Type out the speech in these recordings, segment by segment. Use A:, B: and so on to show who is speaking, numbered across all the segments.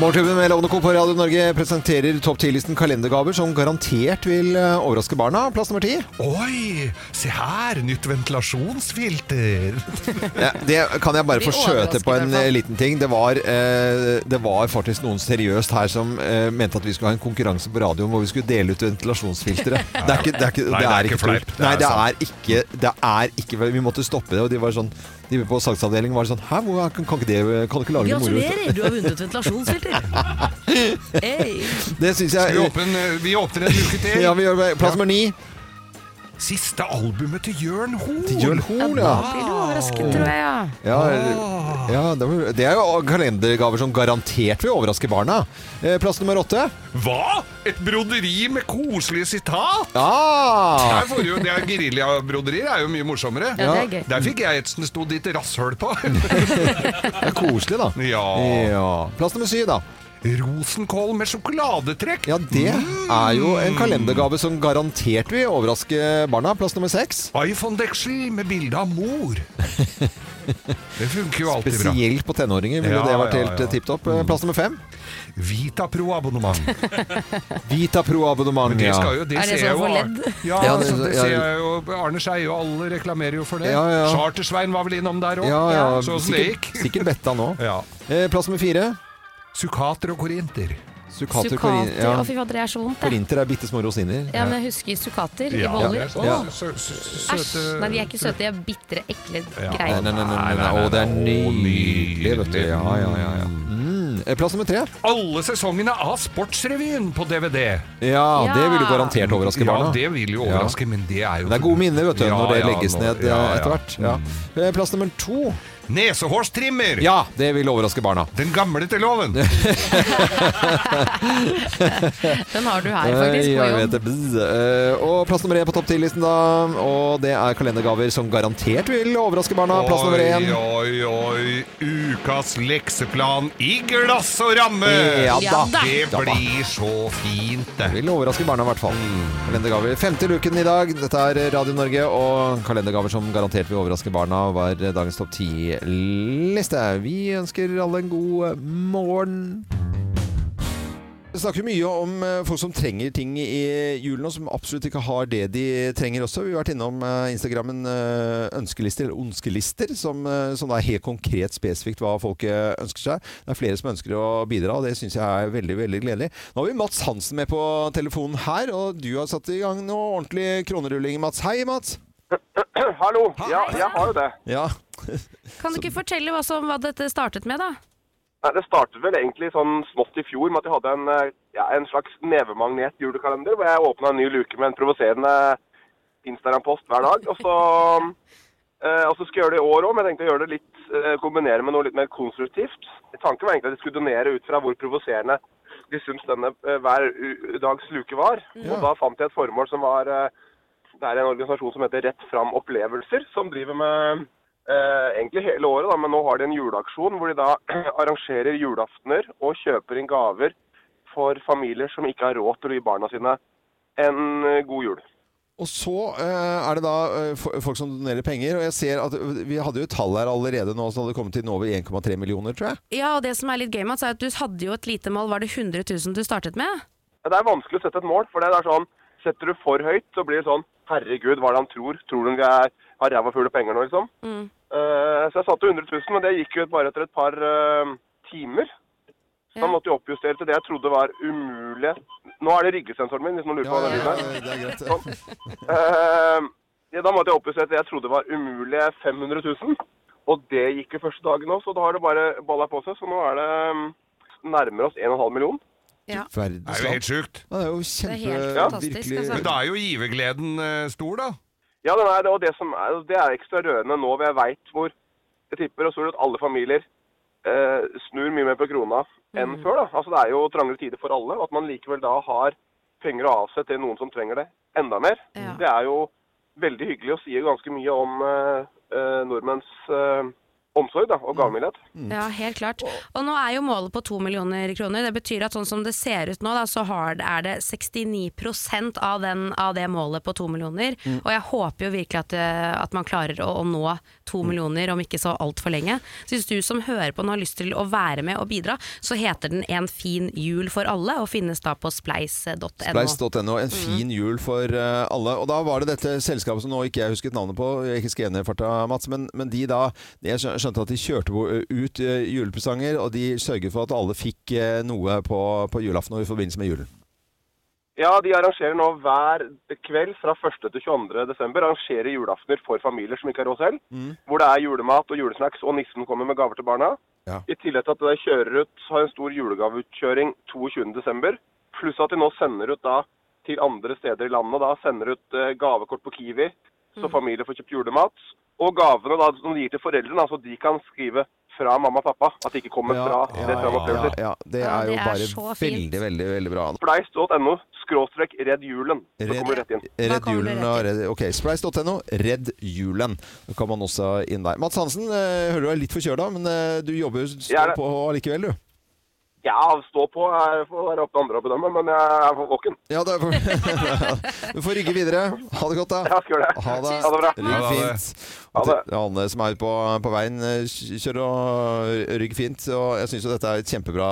A: Morgenklubben med Lovende Co. på Radio Norge presenterer topp 10-listen kalendergaver som garantert vil eh, overraske barna. Plass nummer ti.
B: Oi, se her! Nytt ventilasjonsfilter.
A: Ja, det kan jeg bare
C: Vi
A: få skjøte på en
C: overrasker i hvert fall.
A: eh, liten ting. Det var, eh, det var faktisk noen seriøst her som eh, mente at vi skulle ha en konkurranse på radioen hvor vi skulle dele ut ventilasjonsfiltre. Det er ikke, det er ikke, det er
B: Nei, det er
A: ikke
B: ikke fleip.
A: tull.
B: Det
A: Nei,
B: er
A: det er ikke, det er ikke Vi måtte stoppe det, og de var sånn de på salgsavdelingen var sånn Hæ, hvor- kan, kan ikke det Kan ikke lage noe moro? ut?»
D: Gratulerer, du har vunnet ventilasjonsfilter. Hey.
A: Det syns
B: Vi
A: jeg
B: åpner, vi åpner en uke til.
A: ja, vi gjør, det. Plass nummer ni.
B: Siste albumet til Ah. Jørn Horn.
A: Til Jørn Horn, ja.
C: Blir du overrasket, tror jeg. ja.
A: Ja, ja det, var, det er jo kalendergaver som garantert vil overraske barna. Eh, Plass nummer åtte.
B: Hva? Et broderi med koselige sitat?
A: Ah!
B: Her får du jo- det er Geriljabroderier er jo mye morsommere.
C: Ja, det er gøy.
B: Der fikk jeg et som det sto 'ditt rasshøl' på.
A: Det er koselig, da.
B: ja.
A: Ja. Plass nummer syv, da.
B: Rosenkål med sjokoladetrekk.
A: Ja, det er jo en kalendergave som garantert vil overraske barna. Plass nummer seks.
B: iPhone-deksel med bilde av mor. Det funker jo alltid bra.
A: Spesielt på tenåringer ville
B: Ja,
A: det vært
B: ja,
A: helt
B: ja. Mm.
A: eh, tipp topp. Eh, Plass nummer fem.
B: Vitapro-abonnement.
A: Vita Pro-abonnement.
B: Men det
A: Ja.
B: skal jo, det
C: Er det
B: ser
C: sånn
B: jeg jo
C: for
B: Ar- Ja,
A: Ja, det-
B: det, det
A: ja.
B: ser jeg jo Arne Skei og alle reklamerer jo for det.
A: Ja, ja.
B: Chartersvein var vel innom der òg.
A: Ja, ja.
B: Sånn som det
A: Sikkert,
B: gikk.
A: sikkert betta nå.
B: Ja.
A: Eh, Plass nummer fire.
B: Sukkater og korinter.
A: Sukkater
C: Sukkater.
A: korin- ja.
C: Å, fy fader, det er så vondt, det.
A: Korinter er bitte små rosiner.
C: Ja, men jeg husker sukkater i
B: Ja,
C: boller.
B: det er-
A: Ja.
B: Å, sø- sø- sø-
C: Æsj!
B: søte-
C: Nei, de er ikke søte, de er bitre, ekle
B: Ja.
A: Nei,
C: greier.
A: nei, nei, nei, nei. Å, det er nydelig, vet du. Ja, ja, ja. ja. Mm. Eh, Plass nummer tre.
B: Alle sesongene av Sportsrevyen på DVD.
A: Ja,
C: Ja.
A: det vil jo garantert overraske barna.
B: Ja, det vil jo
A: Ja.
B: overraske, men det er jo
A: Men Det er gode minner vet du,
B: Ja,
A: når det
B: ja,
A: legges
B: nå-
A: ned eh,
B: ja, ja.
A: etter hvert. Ja. Eh, Plass nummer to.
B: Nesehårstrimmer!
A: Ja, det vil overraske barna.
B: Den gamle til loven!
C: Den har du her, faktisk,
A: Eh, jeg
C: på
A: vet det.
C: jobb.
A: Bzz. Eh, Og plass nummer én på topp 10-listen, da. Og det er kalendergaver som garantert vil overraske barna. Plass nummer én.
B: Oi, oi, oi. Ukas lekseplan i glass og ramme!
A: Ja
C: Ja
A: da.
C: da.
B: Det
A: Ja da.
B: blir så fint, det.
A: Vil overraske barna, i hvert fall.
B: Mm.
A: Kalendergaver. Femte luken i dag. Dette er Radio Norge, og kalendergaver som garantert vil overraske barna, var dagens topp ti-liste. Vi ønsker alle en god morgen. Vi snakker mye om eh, folk som trenger ting i julen, og som absolutt ikke har det de trenger også. Vi har vært innom eh, Instagrammen eh, ønskelister, eller ondskelister, som, eh, som er helt konkret spesifikt hva folk eh, ønsker seg. Det er flere som ønsker å bidra, og det syns jeg er veldig veldig gledelig. Nå har vi Mats Hansen med på telefonen her, og du har satt i gang noe ordentlig kronerulling, Mats. Hei, Mats.
E: Hallo. Ja, jeg har jo det.
A: Ja.
C: Kan du ikke fortelle hva, som, hva dette startet med, da?
E: Nei, det startet vel egentlig sånn smått i fjor med at jeg hadde en, eh, ja, en slags nevemagnet-julekalender hvor jeg åpna en ny luke med en provoserende Instagram-post hver dag. Og så, eh, og så skulle jeg gjøre det i år òg, men jeg tenkte å gjøre det litt, eh, kombinere med noe litt mer konstruktivt. Tanken var egentlig at jeg skulle donere ut fra hvor provoserende de syns denne eh, hver u- dags luke var. Og da fant jeg et formål som var eh, Det er en organisasjon som heter Rett fram opplevelser, som driver med eh, egentlig hele året, da, men nå har de en juleaksjon hvor de da arrangerer julaftener og kjøper inn gaver for familier som ikke har råd til å gi barna sine en eh, god jul.
A: Og så eh, er det da eh, fo- folk som donerer penger, og jeg ser at vi hadde jo tall her allerede nå som hadde kommet inn over 1,3 millioner, tror jeg.
C: Ja, og det som er litt gøy, Mats, er at du hadde jo et lite mål. Var det 100 000 du startet med?
E: Ja, Det er vanskelig å sette et mål, for det er sånn Setter du for høyt, så blir det sånn Herregud, hva er det han tror? Tror du vi er, har ræva full av penger nå, liksom? Eh, så jeg satte 100 000, men det gikk jo bare etter et par eh, timer. Så
C: Ja.
E: da måtte jeg oppjustere til det jeg trodde var umulig. Nå er det ryggesensoren min, hvis noen lurer på hva det lyden
A: det
E: er.
A: er greit.
E: Eh, ja, da måtte jeg oppjustere at jeg trodde det var umulige 500 000. Og det gikk jo første dagen òg, så da har det bare balla på seg. Så nå er det mm, nærmere oss 1,5 million.
C: Ja.
B: Det er jo helt
A: Verdensland.
B: sjukt.
A: Ja, Det er jo
C: er
A: kjempe...
C: helt fantastisk,
A: virkelig-
C: altså.
B: Men da er jo givergleden eh, stor, da.
E: Ja, den er, det, og det, som er, det er ekstra rørende nå hvor jeg veit hvor Jeg tipper og tror at alle familier eh, snur mye mer på krona enn før. da. Altså Det er jo trangere tider for alle. og At man likevel da har penger å avse til noen som trenger det enda mer,
C: Ja.
E: det er jo veldig hyggelig og sier ganske mye om eh, eh, nordmenns eh, omsorg da, og gavmildhet.
C: Ja, helt klart. Og nå er jo målet på to millioner kroner. Det betyr at sånn som det ser ut nå, da, så har, er det 69 av, den, av det målet på to millioner. Og jeg håper jo virkelig at, eh, at man klarer å, å nå to millioner, om ikke så altfor lenge. Så hvis du som hører på nå har lyst til å være med og bidra, så heter den En fin jul for alle, og finnes da på spleis.no.
A: Spleis.no.
C: Mm.
A: En fin jul for eh, alle. Og da var det dette selskapet som nå ikke jeg husket navnet på, jeg er ikke skrev ned i farta, Mats, men, men de da Jeg skjø- skjønte at de kjørte bo- ut eh, julepresanger, og de sørget for at alle fikk eh, noe på, på julaften og i forbindelse med julen.
E: Ja, de arrangerer nå hver kveld fra 1. til 22. desember arrangerer julaftener for familier som ikke har råd selv.
A: Mm.
E: Hvor det er julemat og julesnacks, og nissen kommer med gaver til barna.
A: Ja.
E: I tillegg til at de kjører ut, har en stor julegaveutkjøring 22. desember. Pluss at de nå sender ut da til andre steder i landet. da Sender ut eh, gavekort på Kiwi, så familier får kjøpt julemat. Og gavene da, som de gir til foreldrene, altså de kan skrive fra mamma og pappa. At de ikke kommer fra det som er
A: ja,
E: opplevelser.
A: ja. Det
C: Ja,
A: er jo
C: det er
A: bare
C: så fint.
A: veldig, veldig, veldig bra.
E: Spleis.no skråstrek redd julen. Så
A: Redd-
E: kommer du rett inn.
C: Da
A: Redd
C: kommer det
A: julen
C: rett
A: og redd, Ok, Spleis.no, redd julen. Da kan man også inn der. Mats Hansen, eh, hører du er litt forkjøla, men eh, du jobber jo
E: Jeg
A: stå
E: er det.
A: på allikevel, du.
E: Ja, stå på. Jeg får være opp til andre å bedømme, men jeg er våken.
A: Ja, det er- du får rygge videre. Ha det godt, da.
E: Jeg skal gjøre det.
A: Ha det.
E: Ha det bra.
A: Rygg
B: Ha det.
A: fint.
E: Ha
A: Og
E: det.
A: til Anne som er ute på, på veien, eh, kjør og rygg fint. Og jeg syns jo dette er et kjempebra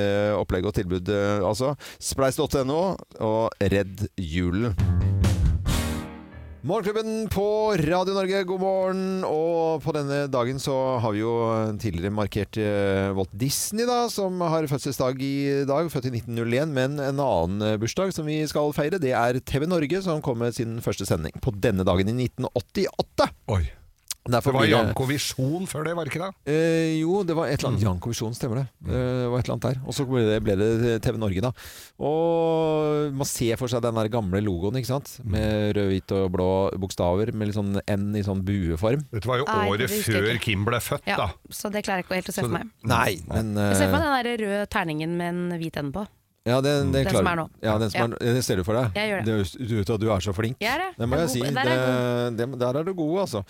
A: eh, opplegg og tilbud, eh, altså. Spleis.no og redd julen. Morgenklubben på Radio Norge, god morgen. Og på denne dagen så har vi jo tidligere markert eh, Walt Disney, da, som har fødselsdag i dag. Født i 1901. Men en annen eh, bursdag som vi skal feire, det er TV Norge, som kom med sin første sending på denne dagen i 1988.
B: Oi.
A: Derfor
B: Det var
A: blir
B: Janko Visjon før det, var det ikke det?
A: Eh, jo, det var et eller annet Jan-kommisjonen, stemmer det. Eh, det var et eller annet der. Og så ble det, ble det TV Norge, da. Og man ser for seg den der gamle logoen, ikke sant? Med rød, hvit og blå bokstaver, med litt sånn N i sånn bueform.
B: Dette var jo
C: Nei,
B: året
C: det husker jeg
B: før
C: ikke.
B: Kim ble født,
C: Ja,
B: da.
C: så det klarer jeg ikke helt å se for meg.
A: Nei, men eh,
C: Jeg ser for meg den der røde terningen med en hvit ende på.
A: ja, den, den,
C: Den
A: klarer-
C: som er nå.
A: Ja, den som
C: Ja.
A: er nå. Den ser du for deg?
C: Jeg gjør det.
A: Du vet at du er så flink.
C: Jeg er det.
A: Det må
C: Jeg er
A: jeg si.
C: god.
A: Det,
C: Der er jeg
A: det, der er du god, altså.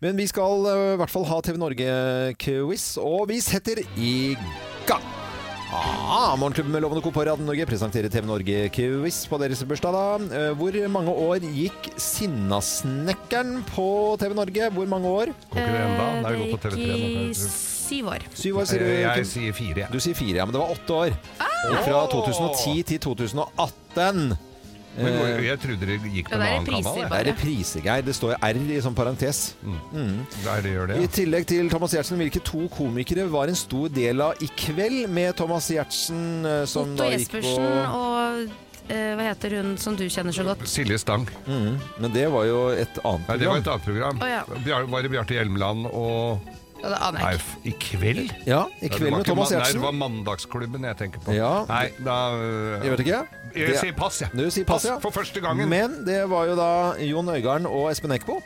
A: Men vi skal eh, i hvert fall ha TV Norge-quiz, og vi setter i gang! Ah, Morgenklubben med Lovende Co på Radio Norge presenterer TV Norge-quiz på deres bursdag. da. Eh, Hvor mange år gikk Sinnasnekkeren på TV Norge? Hvor mange år?
B: Går ikke det ennå?
C: Eh,
B: Det er jo gått på
C: Det
B: TV3 nå.
C: gikk i
B: kanskje.
C: syv år.
A: Syv år, sier du?
B: Eh, Jeg
A: Kim?
B: sier fire, jeg.
A: Du sier fire, ja, men det var åtte år.
C: Ah!
A: Fra 2010 til 2018.
B: Men
A: Eh,
B: går- jeg trodde det gikk på en
C: Ja, det er
B: annen kanal.
C: repriser
B: jeg.
A: det er reprisegeir. Det står R i sånn parentes.
B: Der det gjør det.
A: I
B: ja.
A: tillegg til Thomas Giertsen, hvilke to komikere var en stor del av I kveld med Thomas Giertsen eh, som
C: Otto
A: da gikk på
C: Jespersen og eh, hva heter hun som du kjenner så godt?
B: Silje Stang.
A: Mhm, Men det var jo et annet
B: Nei, det var
A: program.
B: et annet program.
C: Å, ja.
B: Bjar- Var det Bjarte Hjelmeland og
C: Ja, det aner
B: Nei,
C: jeg ikke.
B: f- i kveld?
A: Ja, I
B: Det
A: kveld
B: var
A: med
B: ikke
A: Thomas
B: man- Nei, det
A: Giertsen.
B: var Mandagsklubben jeg tenker på.
A: Ja.
B: Nei, da eh,
A: Jeg vet ikke.
B: Jeg
A: Det-
B: sier pass, jeg.
A: Du sier pass, ja.
B: For første gangen.
A: Men det var jo da Jon Øigarden og Espen Eckbo.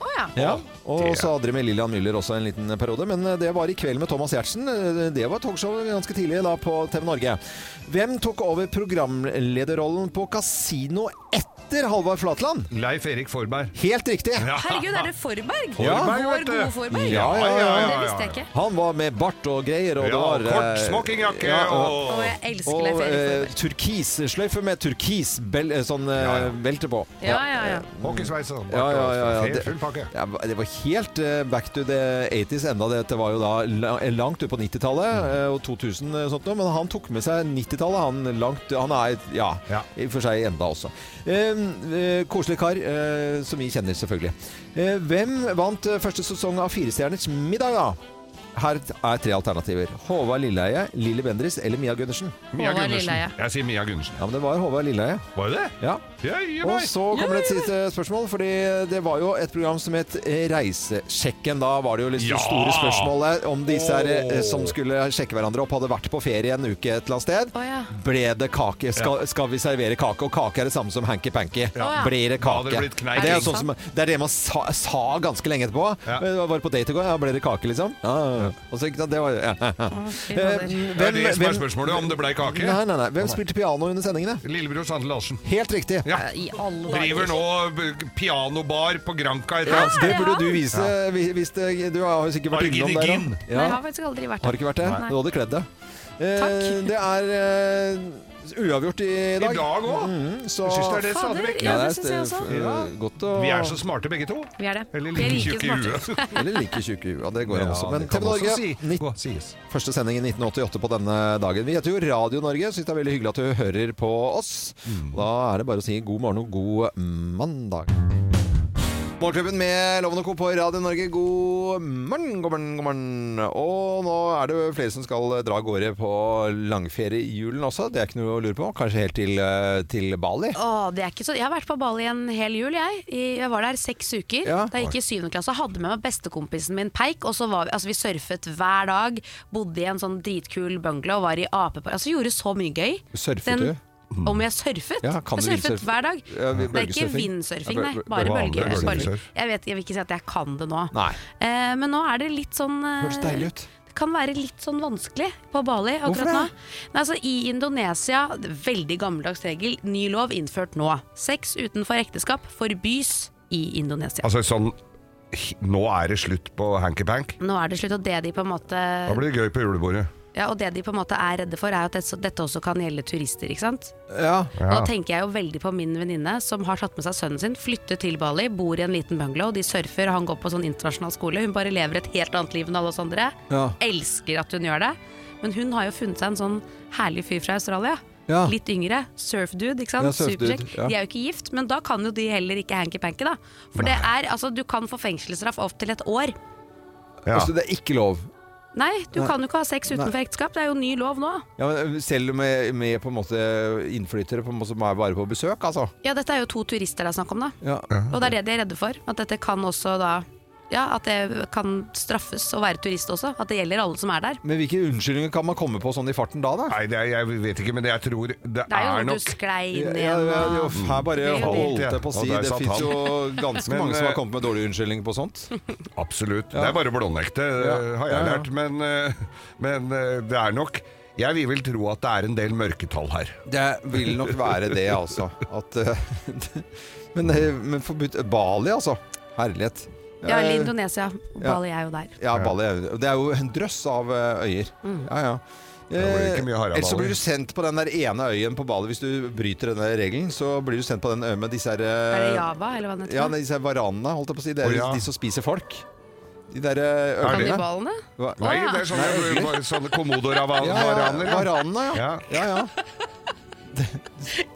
C: Å ja.
A: Ja, og
B: det-
A: så hadde de med Lillian Müller også en liten periode. Men eh, det var i kveld med Thomas Giertsen. Eh, Det var talkshow ganske tidlig da på TV Norge. Hvem tok over programlederrollen på Casino etter Halvard Flatland?
B: Leif Erik Forberg.
A: Helt riktig!
B: Ja.
C: Herregud, er det Forberg?
B: Ja.
C: Vår
B: Forberg, vet du.
C: gode Forberg?
A: Ja, ja, ja, ja, ja.
C: Det visste jeg ikke.
A: Han var med bart og greier, og
B: Ja,
A: det var
B: kort
A: eh,
B: smokingjakke
A: ja, og
C: Og
B: og
C: jeg elsker
A: og
C: Leif Erik
A: eh,
C: Forberg.
A: turkissløyfe med turkisbelte sånn, eh,
B: Ja, ja.
A: belte på.
C: Ja, ja, ja.
B: hockeysveis og
A: Ja, ja, ja, ja.
B: Helt
A: Det-
B: Full pakke.
A: Ja, det var helt eh, back to the 80s enda. Dette var jo da la- eh, langt ut på 90-tallet
B: Mm.
A: eh, og 2000 og sånt noe, men han tok med seg 90-tallet. Han, langt- han er et- ja,
B: Ja.
A: i og for seg enda også. Eh, eh, koselig kar, eh, som vi kjenner selvfølgelig. Eh, hvem vant eh, første sesong av Firestjerners middag, da? Her er tre alternativer. Håvard Lilleheie, Lilly Bendriss eller Mia Gundersen.
B: Mia
C: Håvard
B: Gundersen.
C: Lilleheie.
B: Jeg sier Mia Gundersen.
A: Ja, men det var Håvard Lilleheie.
B: Var det det?
A: Ja.
B: Jøye
A: Og
B: meg!
A: så kommer det et siste spørsmål, fordi det var jo et program som het Reisesjekken. Da var det jo liksom
B: Ja!
A: store spørsmålet om disse her, eh,
B: Åh.
A: som skulle sjekke hverandre opp, hadde vært på ferie en uke et eller annet sted.
C: Å ja.
A: Ble det kake? Skal, skal vi servere kake? Og kake er det samme som hanky-panky.
C: Ja.
A: Blir det
B: Da hadde
A: kake?
B: det blitt kneiking.
A: det, er sånn som, det er det man sa, sa ganske lenge etterpå.
B: Ja.
A: Jeg var på date i går, ja, ble det kake, liksom? Ja, ja, Og så, ikke sant, det var ja.
C: fy
A: Eh,
C: fader.
B: Det er
A: Hvem,
B: det som er
A: hvem,
B: spørsmålet, om det blei kake.
A: nei, nei, nei. hvem spilte piano under sendingene?
B: Lillebror Sandel Larsen.
A: Helt riktig.
B: Ja.
C: Eh,
D: I alle
B: Driver nå b- pianobar på Granca etter
A: Ja,
B: hans
A: det
C: det
A: burde
C: har
A: du vise. vi- Hvis det, du har jo sikkert vært
B: Argin
A: innom
B: i
A: der. da.
B: gin.
C: Nei,
A: Ja.
C: jeg har faktisk aldri vært
A: Har det ikke vært det? Du hadde kledd deg. Eh,
C: Takk.
A: Det er eh, uavgjort i
B: I
A: dag.
B: dag òg.
A: Mm, så
B: Jeg syns det er det stadig
C: Fader,
B: vekk.
C: ja,
A: Ja,
C: det
A: det
C: syns jeg også.
A: er eh, godt å
B: Vi er så smarte begge to.
C: Vi er det.
B: Eller
C: Vi er
B: like
C: like
B: tjukke i
C: smarte.
B: huet.
A: Eller like tjuke i huet. Det går
B: Ja,
A: an også. Men
B: det kan
A: TV Norge,
B: også si-
A: nitt-
B: gå- sies.
A: Første sending i 1988 på denne dagen. Vi heter jo Radio Norge, så det er veldig hyggelig at du hører på oss. Da er det bare å si god morgen og god eh, mandag. Morgenklubben med Loven og Co. på Radio Norge, god morgen, god morgen, god morgen. Og nå er det jo flere som skal dra av gårde på langferie i julen også. Det er ikke noe å lure på. Kanskje helt til, eh, til Bali.
C: Åh, det er ikke så Jeg har vært på Bali en hel jul, jeg. I, jeg var der seks uker.
A: Ja.
C: Da jeg gikk i syvende klasse, hadde med meg bestekompisen min Peik. Og så var vi, altså, vi surfet hver dag, bodde i en sånn dritkul bungalow, var i apepark Altså gjorde så mye gøy.
A: Surfet du?
C: Om jeg surfet?
A: Ja, kan du
C: jeg surfet
A: vindsurfe?
C: hver dag.
A: Ja, vi-
C: det er ikke
A: bølgesurfing.
C: vindsurfing,
A: Ja,
C: nei.
A: bøl- bøl-
C: Bare
B: vanlig
C: bølger.
B: bølgesurf.
C: Jeg, vet, jeg vil ikke si at jeg kan det nå.
A: Nei.
C: Eh, men nå er det litt sånn eh,
A: Høres deilig ut.
C: Det kan være litt sånn vanskelig på Bali
A: Hvorfor
C: akkurat
A: det?
C: nå. Nei, altså, I Indonesia, veldig gammeldags regel, ny lov innført nå. Sex utenfor ekteskap forbys i Indonesia.
B: Altså sånn hi- Nå er det slutt på hanky-pank.
C: Nå er det slutt, og det de på en måte
B: Da blir det gøy på julebordet.
C: ja, Og det de på en måte er redde for, er at dette dette også kan gjelde turister, ikke sant?
A: Ja.
C: Nå tenker jeg jo veldig på min venninne som har tatt med seg sønnen sin, flyttet til Bali, bor i en liten bungalow, de surfer, og han går på sånn internasjonal skole. Hun bare lever et helt annet liv enn alle oss andre.
A: Ja.
C: Elsker at hun gjør det. Men hun har jo funnet seg en sånn herlig fyr fra Australia.
A: Ja.
C: Litt yngre. Surfdude, ikke sant.
A: Ja, surfdude,
C: Superchick.
A: ja.
C: De er jo ikke gift, men da kan jo de heller ikke hanky-panky, da. For det er altså, du kan få fengselsstraff opp til et år.
B: Ja.
A: Altså, det er ikke lov.
C: Nei, du
A: Nei.
C: kan jo ikke ha sex utenfor ekteskap. Det er jo ny lov nå.
A: Ja, men selv med, med på en måte innflyttere på en måte, som er bare på besøk, altså.
C: Ja, dette er jo to turister det er snakk om, da.
A: Ja.
C: Og det er det de er redde for. At dette kan også da ja, at det kan straffes å være turist også. At det gjelder alle som er der.
A: Men hvilke unnskyldninger kan man komme på sånn i farten da, da?
B: Nei, det er, jeg vet ikke, men det jeg tror det,
C: Det er jo
B: er
C: noe
B: nok
C: du sklei
A: Ja,
C: ned
A: ja, ja,
C: og-
A: jo, f- her bare
C: Det er jo
A: holdt
B: det.
A: jeg på å
B: Og
A: si.
B: der
A: Det
B: satt
A: fins
B: han.
A: jo ganske
B: Men,
A: mange som har
B: eh,
A: kommet med dårlige unnskyldninger på sånt.
B: Absolutt. Det er bare blånekte,
A: Ja.
B: har
A: Ja,
B: jeg
A: ja.
B: lært. Men, eh, men eh, det er nok Jeg vil vel tro at det er en del mørketall her.
A: Det vil nok være det, altså. At, eh, men, eh, men forbudt Bali, altså. Herlighet.
C: Ja, eller
A: Eh,
C: Indonesia. Bali er jo der.
A: Ja, Bali. er- Det er jo en drøss av eh, øyer.
C: Mm.
A: Ja, ja.
B: blir det ikke mye Harald
A: Ellers så
B: Bali.
A: blir du sendt på den der ene øyen på Bali. Hvis du bryter denne regelen, så blir du sendt på den øyen med disse her eh,
C: Er det Java, eller hva det heter?
A: Ja, nei, disse her varanene, holdt jeg på å si. Det er
B: Å, ja.
A: de som spiser folk. De derre
B: Er det-
A: ørnene.
C: Kannibalene?
A: Hva-
B: Nei, det er sånne,
A: Ja,
B: sånne
A: ja,
B: kommodoravaner. Ja,
A: varanene, ja.
B: Ja.
A: ja, ja.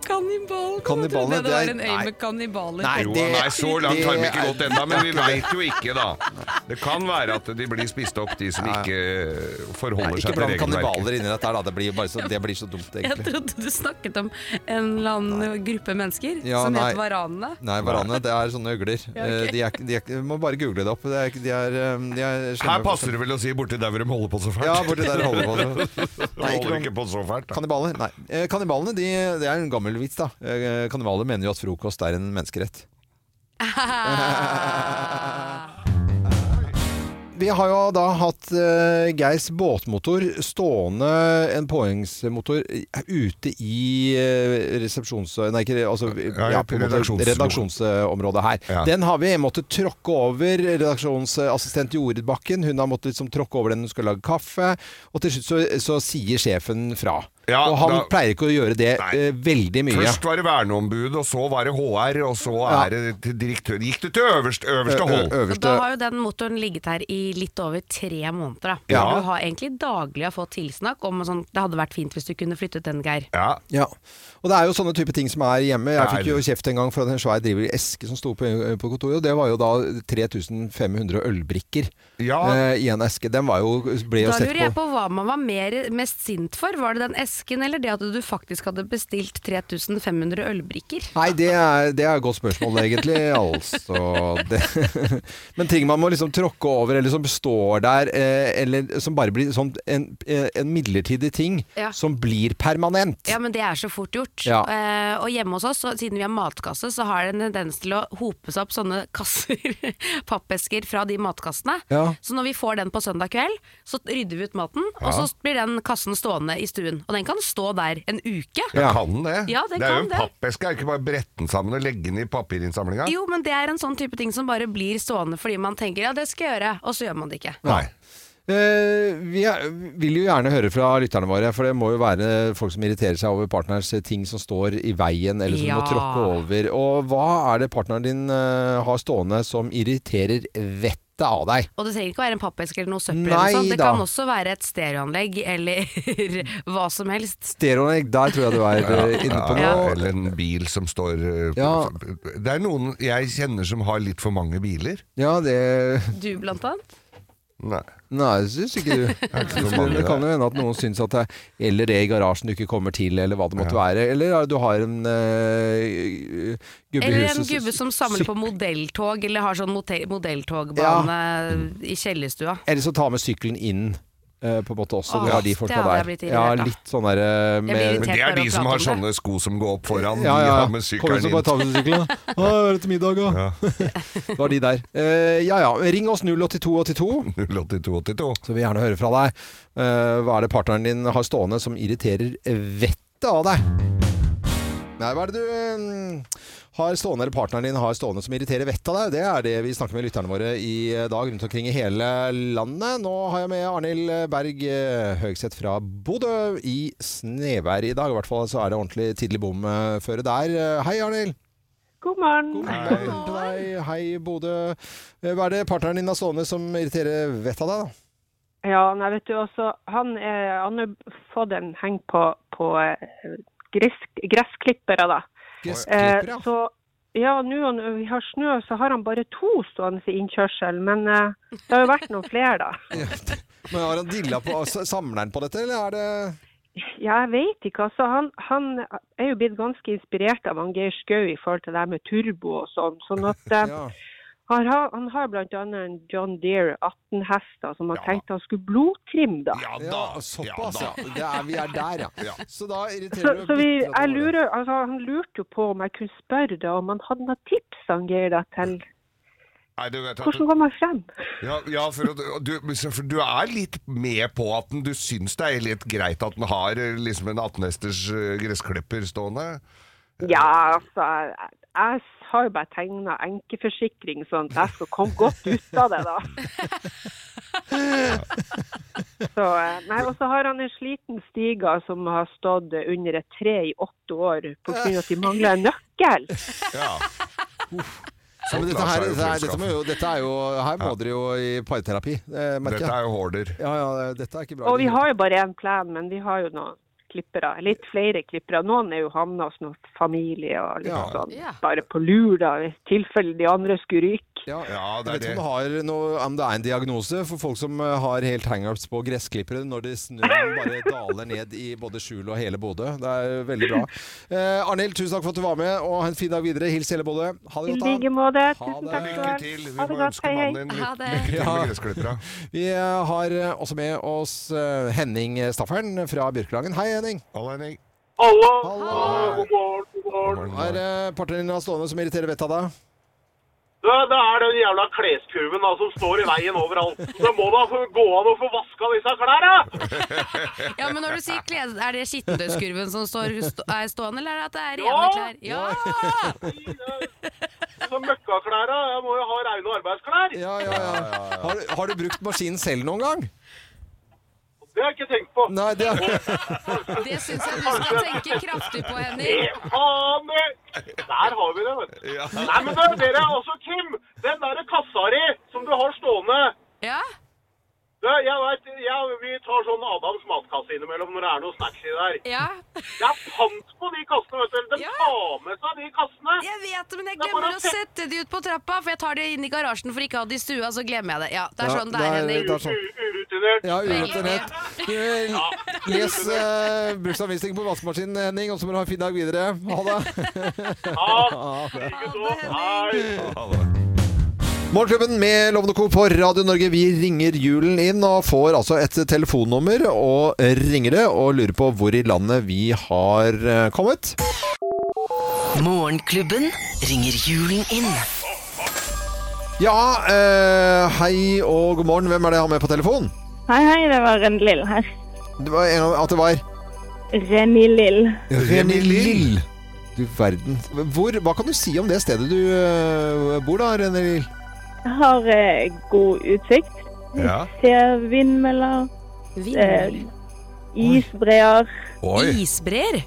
D: Kannibalene. Jeg
A: Kannibalene,
D: trodde det var
A: det er-
D: en
A: nei.
D: øy med kannibaler.
A: Nei.
B: Jo,
A: det-
B: nei, så langt har vi ikke
A: det-
B: gått ennå, men vi veit jo ikke, da. Det kan være at de blir spist opp, de som ikke forholder
A: Ikke
B: seg til
A: bland
B: regelverket.
A: kannibaler inni dette her, da. Det blir, bare så, det blir så dumt,
D: Jeg
A: egentlig.
D: trodde du snakket om en eller annen gruppe mennesker
A: Ja,
D: som
A: nei.
D: het Varanene.
A: Nei, varanene, det er sånne øgler. Eh, De er, ikke- de er, ikke- må bare google det opp. Det er, ikke- de er, eh, de er slemme
B: Her
A: folk som-
B: passer det vel å si borti der hvor de holder på så fælt.
A: Ja, borti der holder på. så. Nei,
B: De
A: ikke
B: holder
A: noe-
B: ikke på så fælt. Da.
A: Kannibaler? Nei. Eh, Kannibalene, de, det er en gammel vits, da. Eh, Kannibaler mener jo at frokost er en menneskerett. Vi har jo da hatt eh, Geirs båtmotor stående, en påhengsmotor, eh, ute i eh, resepsjons... Nei, ikke re- altså,
B: Ja,
A: ja, på en måte
B: redaksjons-
A: redaksjonsområdet her.
B: Ja.
A: Den har vi måttet tråkke over. Redaksjonsassistent Jorid Bakken hun har måttet liksom, tråkke over den hun skal lage kaffe. Og til slutt så, så sier sjefen fra.
B: Ja,
A: og han
B: da-
A: pleier ikke å gjøre det
B: Nei.
A: eh, veldig mye.
B: Først var det verneombud, og så var det HR, og så er det til direktør. Gikk det til øverste,
A: Ø-
B: øverste
A: ø-
B: hold?
C: Og
A: øverste-
C: da har jo den motoren ligget her i litt over tre måneder. Da.
B: Ja.
C: Du har egentlig daglig har fått tilsnakk om sånn, det hadde vært fint hvis du kunne flyttet den, Geir.
B: Ja.
A: Ja. Og det er jo sånne type ting som er hjemme. Jeg
B: Nei.
A: fikk jo kjeft en gang for en svær driver i eske som sto på, på kontoret. Og det var jo da 3500 ølbrikker
B: Ja.
A: eh, i en eske. Den var jo, ble jo
C: Da
A: sett
C: lurer jeg
A: på
C: på hva man var mer, mest sint for. Var det den esken, eller det at du faktisk hadde bestilt 3500 ølbrikker?
A: Nei, det er, det er et godt spørsmål, egentlig. altså. Det. Men ting man må liksom tråkke over, eller som står der, eh, eller som bare blir sånn en, eh, en midlertidig ting
C: Ja.
A: som blir permanent.
C: Ja, men det er så fort gjort.
A: Ja.
C: Eh, og hjemme hos oss, så, siden vi har matkasse, så har det en tendens til å hope seg opp sånne kasser, pappesker, fra de matkassene.
A: Ja.
C: Så når vi får den på søndag kveld, så rydder vi ut maten, og så blir den kassen stående i stuen. Og den kan stå der en uke.
A: Ja.
B: Kan den det?
C: Ja, den
B: det er
C: kan
B: jo en
C: det.
B: pappeske, er det ikke bare å brette den sammen og legge den i papirinnsamlinga?
C: Jo, men det er en sånn type ting som bare blir stående fordi man tenker ja, det skal jeg gjøre, og så gjør man det ikke.
B: Nei.
A: Eh, vi er, vil jo gjerne høre fra lytterne våre, for det må jo være folk som irriterer seg over partners eh, ting som står i veien, eller som du må
C: Ja.
A: tråkke over. Og hva er det partneren din eh, har stående som irriterer vettet av deg?
C: Og det trenger ikke å være en pappeske eller noe søppel.
A: Nei
C: eller noe sånt. Det
A: da.
C: kan også være et stereoanlegg eller hva som helst.
A: Stereoanlegg, der tror jeg du er eh, inne på
B: Ja,
A: noe.
B: eller en bil som står eh, på-
A: Ja.
B: Det er noen jeg kjenner som har litt for mange biler.
A: Ja, det
C: Du, blant annet.
B: Nei.
A: Nei, det syns ikke du.
B: ikke så
A: Men
B: mange,
A: det kan
B: det.
A: jo hende at noen syns at det er Eller det i garasjen du ikke kommer til, eller hva det måtte være. Eller ja, du har en eh, gubbe i
C: Eller en
A: huset-
C: gubbe som samler på modelltog, eller har sånn mote- modelltogbane i kjellerstua.
A: Eller så ta med sykkelen inn eh, på en måte også.
C: Åh,
A: det var de folka
C: det hadde jeg
A: der.
C: blitt irritert
A: ja,
C: av.
A: litt sånn derre med
C: blir
B: Men det
C: Irritert
B: er
C: bare
B: de
C: å
B: som
C: prate
B: har
C: om
B: sånne sko som går opp
A: ja,
B: foran. De
A: ja,
B: har
A: ja.
B: med
A: Kom
B: sykkelen
A: så
B: inn.
A: bare ta med sykkelen. da. Å, er det til middag, da?
B: Ja.
A: Det var de der. Eh, ja ja, ring oss 08282,
B: 08282.
A: så vil vi gjerne høre fra deg. Eh, hva er det partneren din har stående som irriterer vettet av deg? Nei, hva er det du eh, har stående, eller partneren din har stående som irriterer vettet av deg? Det er det vi snakker med lytterne våre i eh, dag rundt omkring i hele landet. Nå har jeg med Arnhild Berg eh, Høgseth fra Bodø i snevær i dag. I hvert fall så er det ordentlig tidlig bom eh, føre der. Eh, Hei, Arnhild.
F: God morgen.
A: Hei. Hei, hei Bodø. Eh, Hva er det partneren din har stående som irriterer vettet av deg, da?
F: Ja, nei, vet du også, han, eh, han har fått en heng på, på eh, grisk, gressklippere, da. Eh,
A: Gressklipper, ja.
F: så ja, nå når vi har snø, så har han bare to stående i innkjørsel, men eh, det har jo vært noen flere, da.
A: Men har han dilla på altså, Samler han på dette, eller er det
F: Ja, jeg vet ikke, altså. Han, han er jo blitt ganske inspirert av han Geir Skau i forhold til det her med turbo og sånn. sånn at... Eh,
A: Ja.
F: Han har, han har bl.a. en John Deere 18 hester som han tenkte han skulle blodtrimme. da.
B: Ja da!
A: Ja,
B: Ja,
A: såpass,
B: da.
A: ja. Det er, vi er der, ja.
B: Ja.
A: Så da irriterer
F: Så,
A: det
F: så vi,
A: bitte litt
F: jeg
A: over det.
F: lurer, altså, han lurte jo på om jeg kunne spørre deg om han hadde noen tips han gir deg til
B: Nei, du vet at
F: hvordan går man frem?
B: Ja, ja for, at- du, for du er litt med på at den, du syns det er litt greit at den har eh, liksom en 18-hesters eh, gressklipper stående?
F: Ja, altså, jeg, jeg har jo bare tegna enkeforsikring sånn at jeg skal komme godt ut av det, da. Så, eh, nei, og så har han en sliten stiger som har stått under et tre i åtte år pga. at de mangler en nøkkel.
B: Ja.
A: Ja, men
B: Folk
A: dette,
B: lar
A: her,
B: seg jo
A: dette, her, dette,
B: fullskaffe.
A: må jo, dette er jo Her må dere jo i parterapi, eh, merker
B: Dette
A: jeg.
B: er jo hoarder.
A: Ja, ja, dette er ikke bra.
F: Og vi har jo bare én plen, men vi har jo noen klippere. Litt flere klippere. Noen er jo havna hos noen familie og litt
A: Ja.
F: sånn.
C: Ja.
F: Bare på lur, da, i tilfelle de andre skulle ryke.
A: ja,
B: Ja, det
A: jeg
B: er
A: vet ikke
B: det.
A: om, du har noe, om det er en diagnose for folk som eh, har helt hangups på gressklippere når det snøen bare daler ned i både skjul og hele Bodø. Det er veldig bra. Eh, Arnhild, tusen takk for at du var med, og ha en fin dag videre. Hils hele Bodø. Ha
F: I
A: det godt.
F: like
A: da.
F: måte.
A: Ha
F: Tusen
A: det.
F: takk skal du
B: Lykke
F: ha.
B: til. Vi
F: Ha
B: må
F: det godt.
B: ønske
F: Hei,
B: mannen
F: hei.
B: din
C: Ha
B: lykke
C: det.
B: lykke til
A: Ja.
B: med gressklippera.
A: Vi eh, har eh, også med oss eh, Henning Staffern fra Bjørkelangen. Hei, Henning.
B: Halla, Henning.
G: Hallo!
A: Hallo.
G: God morgen, god morgen.
A: Hva er eh, partneren din har stående som irriterer vettet av deg?
G: Det, det er den jævla kleskurven da, som står i veien overalt. Det må da få- gå an å få vaska disse klærne!
C: Ja, men når du sier klede, er det skittentøyskurven som står, stå, er stående, eller er det at det er
G: Ja!
C: rene klær? Ja!
G: Disse møkkaklærne. Jeg må jo ha reine arbeidsklær.
A: Ja, ja, ja. Har, du- har du brukt maskinen selv noen gang?
G: Det har jeg ikke tenkt på.
A: Nei, det er
C: Det syns jeg du skal tenke kraftig på, Henning.
G: Eh, Faen! eh. Der har vi det, vet du.
B: Ja.
G: Nei, men det, dere, altså, Kim, den der kassa di som du har stående
C: Ja?
G: det, jeg vet, jeg, Vi tar sånn Adams matkasse innimellom når det er noe snacks i der.
C: Ja.
G: Jeg fant på de kassene, vet du. De
C: Ja.
G: tar med seg de kassene.
C: Jeg vet det, men jeg glemmer å sette de ut på trappa, for jeg tar de inn i garasjen for ikke å ha de i stua, så glemmer jeg det. Ja, det er sånn det er, Henning.
G: U-
A: sånn.
G: Urutinert urutinert.
A: Ja, urutinert. Du, Les eh, bruksanvisning på vaskemaskinen, Henning, og så må du ha en fin dag videre. Ha det.
G: Ja, ikke så. Hei.
A: Morgenklubben med Lovende Co. på Radio Norge. Vi ringer julen inn og får altså et telefonnummer og ringer det og lurer på hvor i landet vi har eh, kommet.
D: Morgenklubben ringer julen inn.
A: Ja, eh, hei og god morgen. Hvem er det jeg har med på telefon?
H: Hei, hei, det var Renny Lill her.
A: Det var en gang at det var
H: Renny Lill.
A: Remi Lill. Du verden. Hvor, hva kan du si om det stedet du eh, bor da, Remi Lill?
H: Jeg har eh, god utsikt.
B: Ja.
H: Ser vindmøller, eh,
C: Vindmøller.
H: isbreer,
B: Oi.
C: Isbreer.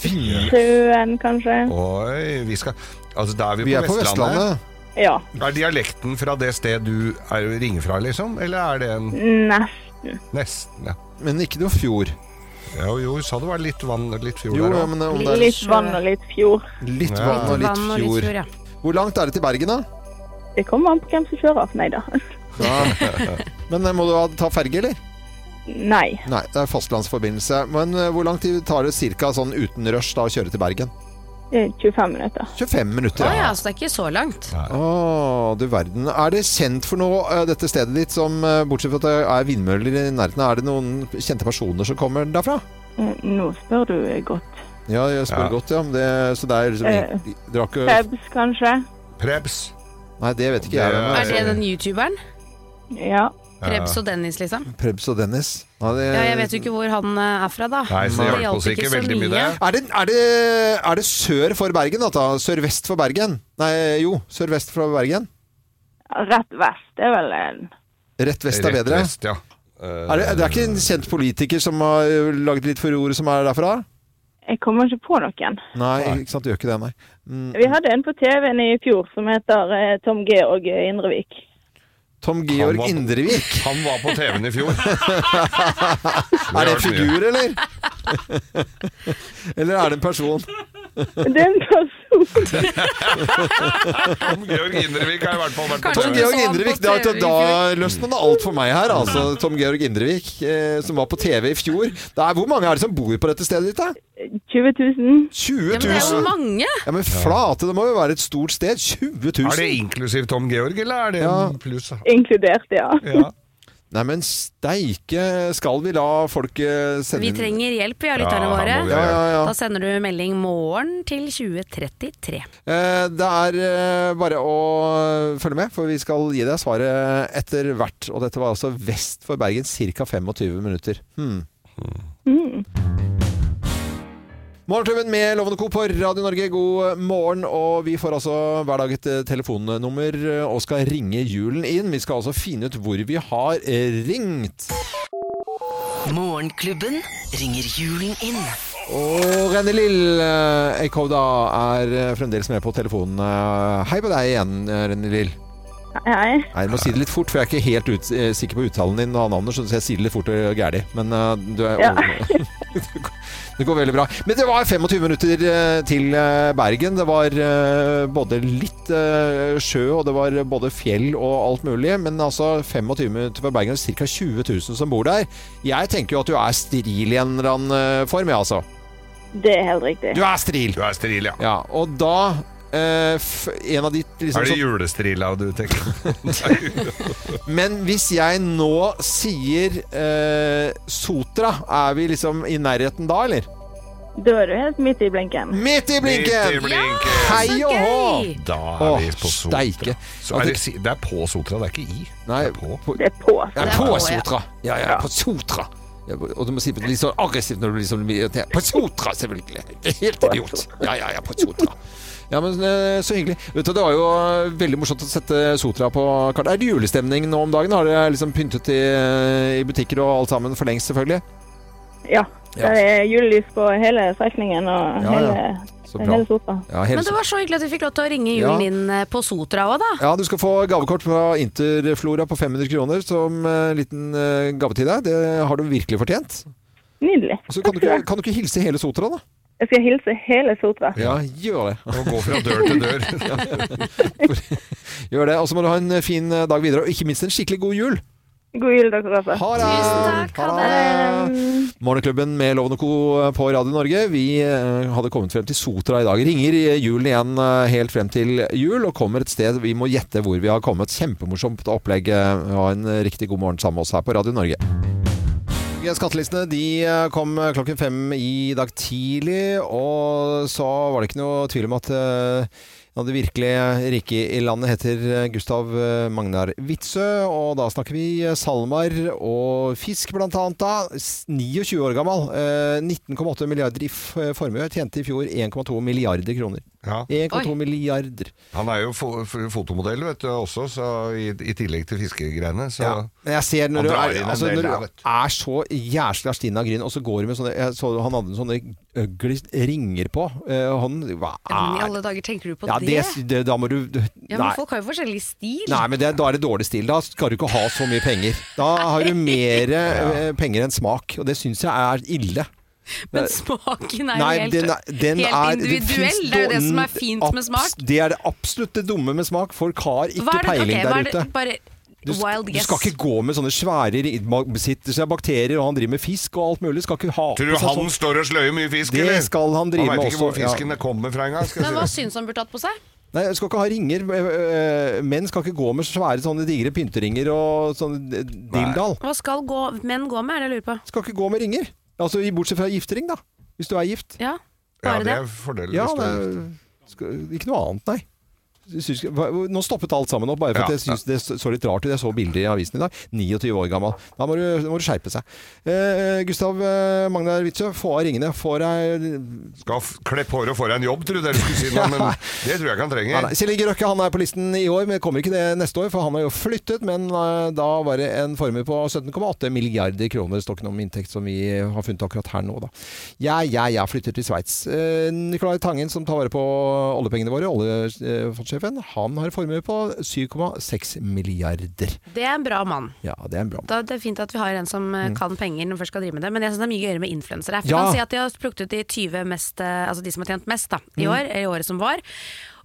H: sjøen kanskje.
B: Oi, vi skal Altså, da er vi,
A: Vi er på
B: Vestlandet.
A: Vestlandet.
H: Ja,
B: Er dialekten fra det sted du er, ringer fra, liksom? Eller er det en
H: nesten.
B: Nesten, ja.
A: Men ikke noe fjord.
B: Jo, jo, sa det var litt vann litt fjord
A: Jo,
B: der
A: ja,
B: òg.
A: men om det er
H: Litt vann og litt fjord.
A: litt
B: Ja.
A: vann og litt
C: Vann og litt
A: fjord.
C: fjord, ja.
A: Hvor langt er det til Bergen, da?
H: Det kommer an på hvem som kjører. Nei da.
A: Ja. Men eh, må du ha- ta ferge, eller?
H: Nei.
A: Nei, det er fastlandsforbindelse. Men eh, hvor lang tid tar det cirka sånn uten rush da å kjøre til Bergen?
H: eh, 25 minutter.
A: 25 minutter.
C: Å ja, så det er ikke så langt.
A: Å, du verden. Er det kjent for noe, eh, dette stedet ditt, som eh, bortsett fra at det er vindmøller i nærheten, er det noen kjente personer som kommer derfra?
H: Eh, Nå spør du eh, godt.
A: Ja, jeg spør
B: Ja.
A: godt, ja. men Det, så det er liksom
H: Eh,
A: ingen- dere har ikke
H: Pebs kanskje?
B: Prebz.
A: Nei, det vet ikke jeg.
B: Det
A: hvem
C: Er
A: er.
C: det den youtuberen?
H: Ja.
C: Rebs og Dennis, liksom?
A: Prebz og Dennis. Nei, det,
C: Ja, jeg vet jo ikke hvor han eh, er fra, da.
B: Nei, så det
C: Det
B: hjalp oss ikke
C: så
B: veldig mye, det.
A: Er det, er, det, er det sør for Bergen, da? da? Sør-vest for Bergen? Nei, jo, sør-vest for Bergen.
H: Rett vest er vel en
A: Rett vest er bedre.
B: vest, ja. Eh,
A: Er det, det er ikke en kjent politiker som har øh, laget litt for ordet som er derfra?
H: Jeg kommer ikke på noen.
A: Nei, ikke sant, du gjør ikke det, nei.
H: Vi hadde en på TV-en i fjor som heter eh, Tom Georg Indrevik.
A: Tom Georg
B: var-
A: Indrevik.
B: Han var på TV-en i fjor.
A: Er det en
B: har vært mye.
A: figur, eller? eller er det en person?
H: Det er en person
B: Tom Georg Indrevik har i hvert fall vært på
C: Kanskje
A: Tom
B: TV.
A: Georg
C: så han på
A: Indrevik, da,
C: TV i
A: da løsner det alt for meg her, altså. Tom Georg Indrevik, eh, som var på TV i fjor. Det er, hvor mange er det som bor på dette stedet ditt, da?
H: 20 000.
A: 20
C: Ja, men det er jo
A: 000?
C: mange!
A: Ja, men flate, det må jo være et stort sted. 20
B: Er det
A: 000?
B: inklusiv Tom Georg, eller er det
A: Ja.
B: en pluss?
H: Inkludert, ja.
B: Ja.
A: Nei, men steike, skal vi la folk eh, sende
C: Vi
A: inn-
C: trenger hjelp, vi har lytterne
B: Ja, her må vi
A: Ja,
C: våre.
B: ha-
A: ja, ja.
C: Da sender du melding morgen til 2033.
A: Eh, Det er eh, bare å følge med, for vi skal gi deg svaret etter hvert. Og dette var altså vest for Bergen, ca. 25 minutter. Hmm.
C: Hmm.
A: Morgenklubben med Lovende Co. på Radio Norge, god morgen. Og vi får altså hver dag et eh, telefonnummer eh, og skal ringe julen inn. Vi skal altså finne ut hvor vi har eh, ringt.
D: Morgenklubben ringer julen inn.
A: Og René Lill eh, Eikhov da er eh, fremdeles med på telefonen. Eh, Hei på deg igjen, eh, René Lill.
H: Hei, hei.
A: Nei, du må si det litt fort, for jeg er ikke helt ut, eh, sikker på uttalen din og navnet, så jeg sier det litt fort og gærlig. Men eh, du er
H: Ja.
A: Det går veldig bra. Men det var 25 minutter eh, til eh, Bergen. Det var eh, både litt eh, sjø, og det var både fjell og alt mulig. Men altså 25 minutter fra Bergen, ca. 20 000 som bor der. Jeg tenker jo at du er stril i en eller annen eh, form, jeg, altså.
H: Det er helt riktig.
A: Du er stril!
B: Du er steril, ja.
A: Ja, og da eh, f En av de liksom,
B: Er det
A: som-
B: julestrila du tenker på?
A: Men hvis jeg nå sier eh, Sotra, er vi liksom i nærheten da, eller?
H: Da er du helt midt i blinken.
A: Midt i
B: Midt i
A: blinken!
B: blinken.
A: Hei
C: Så
A: og hå!
C: gøy!
B: Da
A: Åh,
B: er vi på Sotra.
A: steike.
B: Så er det, si- det er på Sotra, det er ikke i.
A: Nei,
B: det er på.
A: på,
H: Det er på.
A: ja,
C: Det er
A: på
C: på, ja.
A: Sotra. Ja, ja, på Sotra. Ja, og du må si det litt sånn aggressivt når du blir sånn irritert. På Sotra, selvfølgelig! Helt idiot. Ja, ja, ja, på Sotra. Ja, men eh, Så hyggelig. Vet du, Det var jo veldig morsomt å sette Sotra på kartet. Er det julestemning nå om dagen? Har dere liksom pyntet i, eh, i butikker og alt sammen for lengst, selvfølgelig?
H: Ja.
A: Ja.
H: Det er julelys på hele strekningen og
A: Ja,
H: hele,
A: ja. Så bra.
H: hele sofa.
A: Ja, hele
C: Men det var så hyggelig at vi fikk lov til å ringe
A: Ja.
C: julen inn eh, på Sotra òg, da.
A: Ja, du skal få gavekort fra Interflora på 500 kroner som eh, liten eh, gave til deg. Det har du virkelig fortjent.
H: Nydelig.
A: Og så kan, du ikke- kan du ikke hilse hele Sotra, da?
H: Jeg skal hilse hele Sotra.
A: Ja, gjør det.
B: Å gå fra dør til dør.
A: eh, Gjør det. Og så må du ha en fin eh, dag videre, og ikke minst en skikkelig god jul.
H: God jul, dere også.
A: Ha det!
C: Tusen takk, ha
H: Um,
A: Morgenklubben med Loven og Co. eh, på Radio Norge. Vi eh, hadde kommet frem til Sotra i dag. Ringer i julen igjen eh, helt frem til jul og kommer et sted vi må gjette hvor vi har kommet. Kjempemorsomt opplegg. Eh, Ha en eh, riktig god morgen sammen med oss her på Radio Norge. Skattelistene de eh, kom klokken fem i dag tidlig, og så var det ikke noe tvil om at eh, ja, det virkelig rike i landet heter eh, Gustav Magnar Witzøe, og da snakker vi eh, salmar og fisk blant annet da. S- 29 år gammel, eh, 19,8 milliarder i f- eh, formue, tjente i fjor 1,2 milliarder kroner.
B: Ja.
A: 1,2 milliarder.
B: Han er jo fo f- fotomodell vet du, også, så i, i tillegg til fiskegreiene. Så
A: Ja. Men jeg ser når
B: Han
A: du,
B: drar
A: er,
B: inn en
A: altså,
B: del
A: når
B: der,
A: du
B: vet du.
A: er så jæsla stinn av gryn, og så går du med sånne jeg så, Han hadde sånne øgle ringer på eh, hånden. Hva
D: Ja, men i
A: er
D: alle dager tenker du på
A: ja,
D: det?
A: det, det, da må du
D: Ja, men
A: Nei.
D: Folk har jo forskjellig stil.
A: Nei, men det, da er det dårlig stil. Da skal du ikke ha så mye penger. Da har du mer eh, penger enn smak, og det syns jeg er ille.
C: Men smaken er jo
A: Nei,
C: helt
A: den er- den
C: helt
A: er-
C: individuell.
A: finnes
C: Det er jo det som er
A: dårlig-
C: fint med
A: abs-
C: smak.
A: Det er det absolutt det dumme med smak. Folk har ikke
C: Hva er det-
A: peiling
C: ok, hva
A: der
C: er det-
A: ute.
C: Bare
A: Du, sk-
C: wild
A: du
C: guess.
A: skal ikke gå med sånne svære ri- ma- Besitter seg bakterier, og han driver med fisk og alt mulig. Skal ikke ha på
B: Tror du
A: seg
B: han
A: sånn.
B: står og sløyer mye fisk,
A: Det
B: eller?
A: skal han drive
B: han
A: med
B: veit ikke hvor
A: også, ja.
B: fisken kommer fra engang. skal jeg si
C: Men hva
B: deg.
C: syns han burde hatt på seg?
A: Nei, du skal ikke ha ringer. øh, øh, Menn skal ikke gå med svære sånne digre pynteringer og sånn eh, dilldall.
C: Hva skal gå, menn gå med, er det jeg lurer på.
A: Skal ikke gå med ringer. Altså i- Bortsett fra giftering, da. Hvis du er gift.
C: Ja,
B: Ja,
C: bare
B: det
C: det.
B: er fordelen.
A: Ja,
B: hvis du-
A: det er, skal, ikke noe annet, nei. Syns, ikke- hva- nå stoppet alt sammen opp, bare for at
B: Ja,
A: jeg syns det så litt rart ut. Jeg så bilder i avisen i dag. 29 år gammel. Da må du, da må du skjerpe seg. Eh, Gustav eh, Magnar Witzøe, få av ringene. Få deg
B: Skal f- klepp håret og få deg en jobb, tror jeg dere skulle si nå, men det tror jeg ikke han
A: Nei,
B: trenger.
A: nei. Kjell Inge Røkke han er på listen i år, men kommer ikke det neste år, for han har jo flyttet. Men eh, da var det en formue på 17,8 milliarder kroner. Det står ikke noe om inntekt som vi har funnet akkurat her nå, da. Jeg, jeg, jeg flytter til Sveits. Eh, Nicolai Tangen, som tar vare på oljepengene våre, oljefondsjefen, han har en formue på 7,6 milliarder.
C: Det er en bra mann.
A: Ja, det er en bra mann.
C: Da, det er fint at vi har en som eh, kan penger når man først skal drive med det, men jeg syns det er mye gøyere med influensere. For
A: Mm. Ja.
C: han sier at de har plukket ut de 20 mest, eh, altså de som har tjent mest da,
A: Mm.
C: i år, eller i året som var,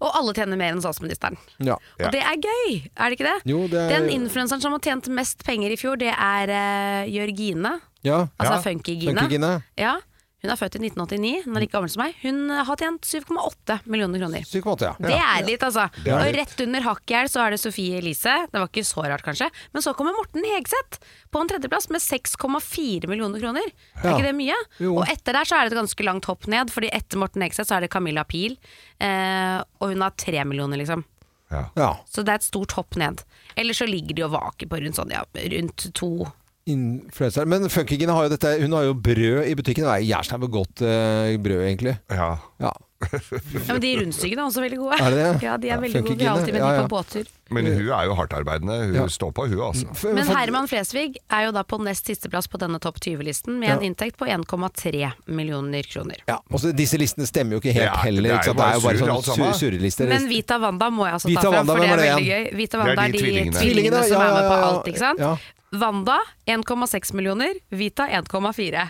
C: og alle tjener mer enn statsministeren.
A: Ja.
C: Og det er gøy, er det ikke det?
A: Jo, det er-
C: Den influenseren som har tjent mest penger i fjor, det er eh, Jørgine.
A: ja.
C: Altså
B: Ja,
C: Funky-Gine.
A: Funkygine.
C: Ja, hun er født i 1989, hun er like gammel som meg. Hun eh, har tjent 7,8 millioner kroner.
A: 7,8, ja.
C: Det er litt, altså.
A: er
C: Og
A: litt.
C: rett under Hakkjell så er det Sofie Elise. Det var ikke så rart, kanskje. Men så kommer Morten Hegseth på en tredjeplass med 6,4 millioner kroner. Er
A: Ja.
C: ikke det mye?
A: Jo.
C: Og etter der så er det et ganske langt hopp ned, fordi etter Morten Hegseth så er det Camilla Pil. Eh, og hun har 3 millioner, liksom.
B: Ja.
A: ja.
C: Så det er et stort hopp ned. Eller så ligger de og vaker på rundt sånn, ja, rundt to.
A: Influencer. Men Funkygine har jo dette Hun har jo brød i butikken. Det er jævla godt eh, brød, egentlig.
B: Ja.
A: Ja.
C: Ja, men de rundstykkene er også veldig gode.
A: Er det det?
C: Ja, de
A: Ja,
C: er veldig gode. Vi
A: funkygine.
C: har alltid med
A: Ja,
C: de
A: ja.
C: på båttur.
B: Men hun er jo hardtarbeidende. Hun
A: Ja.
B: står på, hun altså.
A: F-
C: Men
A: for-
C: Herman Flesvig er jo da på nest sisteplass på denne topp 20-listen, med en inntekt på 1,3 millioner kroner.
A: Ja, og så Disse listene stemmer jo ikke helt
B: Det er-
A: heller.
B: det er
A: ikke sant?
B: jo
A: Det
B: bare
A: er jo bare
B: surr,
A: sånne
B: alt sammen.
A: sur- surrelister.
C: Men Vita Wanda må jeg altså
A: Vita
C: ta fram,
A: Wanda,
C: for det
A: hvem
C: er
A: er
C: veldig
A: det
C: gøy. Vita
B: er de
C: Wanda er de
B: tvillingene.
C: tvillingene,
A: Tvillingene, ja,
C: som er med
A: ja,
C: på
A: ja, ja.
C: alt, ikke sant?
A: Ja.
C: Wanda 1,6 millioner, Vita 1,4.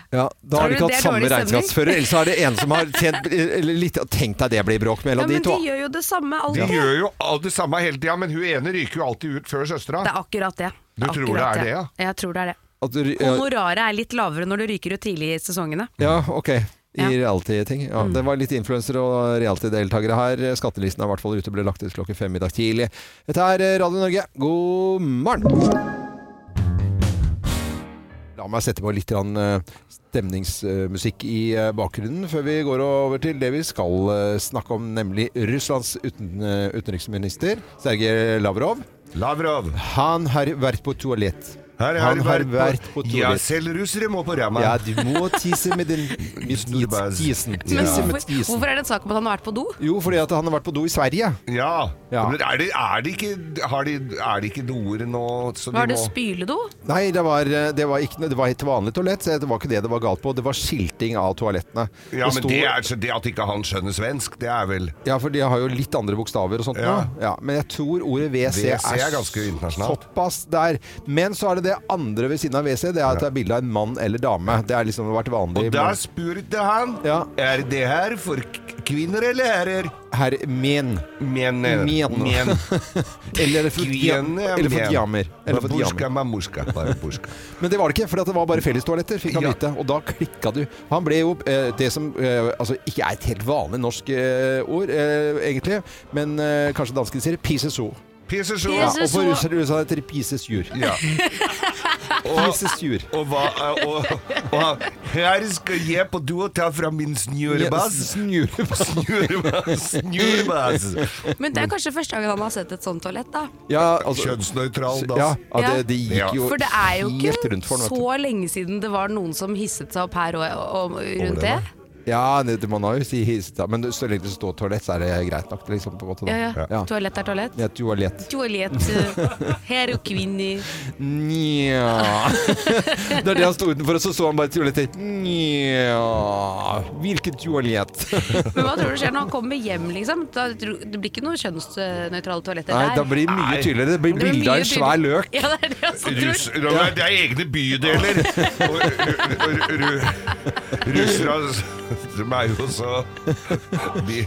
A: ja, da har
C: Tror
A: de
C: du
A: ikke hatt
C: det er dårlig
A: samme
C: stemning?
A: regnskapsfører. Ellers er det en som har tjent eller litt Tenk deg det blir bråk
C: Ja,
A: mellom de
C: men
A: to.
C: de gjør jo det samme
B: De
C: alltid.
B: gjør jo all- det samme hele tida, men hun ene ryker jo alltid ut før søstera.
C: Det er akkurat det.
B: Du
C: er
B: tror det
C: akkurat
B: er det, ja?
C: Jeg tror det er det.
A: At du, ja,
C: Honoraret er litt lavere når du ryker ut tidlig i sesongene.
A: ja, ok. I
C: Ja.
A: reality-ting. Ja, det var litt influensere og reality-deltakere her. Skattelisten er i hvert fall ute, ble lagt ut klokken fem i dag tidlig. Dette er eh, Radio Norge, god morgen! La meg sette på litt grann, eh, stemningsmusikk i eh, bakgrunnen før vi går over til det vi skal eh, snakke om, nemlig Russlands uten, eh, utenriksminister Sergej Lavrov.
B: Lavrov.
A: Han har vært på toalett.
B: Her
A: Han
B: du
A: har vært på
B: Ja,
A: toalett.
B: selv russere må på ræva.
A: Ja, du må tisse med den med
B: Snurbas.
A: tisen.
C: Men
A: Tisse med
C: hvorfor,
A: tisen.
C: hvorfor er det en sak om at han har vært på do?
A: Jo, fordi at han har vært på do i Sverige.
B: Ja.
A: Ja.
B: Men er det, er det ikke Har de, er det ikke doer nå? Så
C: Var
B: de
C: det
B: må
C: spyledo?
A: Nei, det var, eh, det var, ikke, det var et vanlig toalett. så Det var ikke det det var galt på. Det var skilting av toalettene.
B: ja, men
A: sto-
B: det, er, så det at ikke han skjønner svensk, det er vel
A: Ja, for de har jo litt andre bokstaver og sånt
B: Ja.
A: nå. Ja, men jeg tror ordet WC,
B: WC er ganske internasjonalt.
A: såpass der. Men så er det det andre ved siden av WC, det er at det er bilde av en mann eller dame. Det har liksom vært vanlig.
B: Og da spurte han
A: Ja.
B: Er det her for k- kvinner eller herrer?
A: Herr men.
B: Men. eh,
A: Men.
B: men.
A: Eller fått jam-
B: Kvinner,
A: eller fått
B: men.
A: jammer. Eller fått jammer.
B: Babushka, mamushka, babushka.
A: Men det var det ikke, for det var bare fellestoaletter, fikk han
B: Ja.
A: vite. Og da klikka du. Han ble jo eh, det som eh, altså, ikke er et helt vanlig norsk eh, ord, eh, egentlig, men eh, kanskje danskene sier 'pieces so'.
B: Pisse så.
A: Ja, og for
C: Pieces so.
A: russere russere heter det 'pieces jur'.
B: Ja. Og,
A: Pieces jur.
B: og hva eh, og, og, Her skal jeg på do og ta fra min snurrebass.
A: Snurrebass.
B: Snurrebass, snurrebass.
C: Men det er kanskje første gangen han har sett et sånt toalett, da.
A: Ja, altså
B: Kjønnsnøytral dass.
A: ja, ja, det, det
B: Ja.
A: gikk jo
C: For det er jo
A: helt
C: ikke
A: rundt for ham.
C: så lenge siden det var noen som hisset seg opp her og, og, rundt det.
B: da.
A: Ja, det- man har jo si hista, men så lenge det står toalett, så er det greit nok. Liksom, på en måte, da.
C: Ja, ja.
A: Ja.
C: Toalett er toalett.
A: Ja, toalett.
C: Toalett. eh, Her og kvinner.
A: Nja Det er det han sto utenfor, og så så han bare toalettet. Nja Hvilket toalett?
C: Men hva tror du skjer når han kommer hjem, liksom? Da, tro- det blir ikke noe kjønnsnøytrale toaletter
A: Nei, da
C: der.
A: blir det mye
B: Nei.
A: tydeligere. Det blir
C: blir
A: bilde av
C: mye
A: en svær
C: dyrere.
A: løk.
C: Ja, det er det jeg også tror.
B: Russ, det er egne bydeler. Og ru- ru- ru- Russere de er jo så de,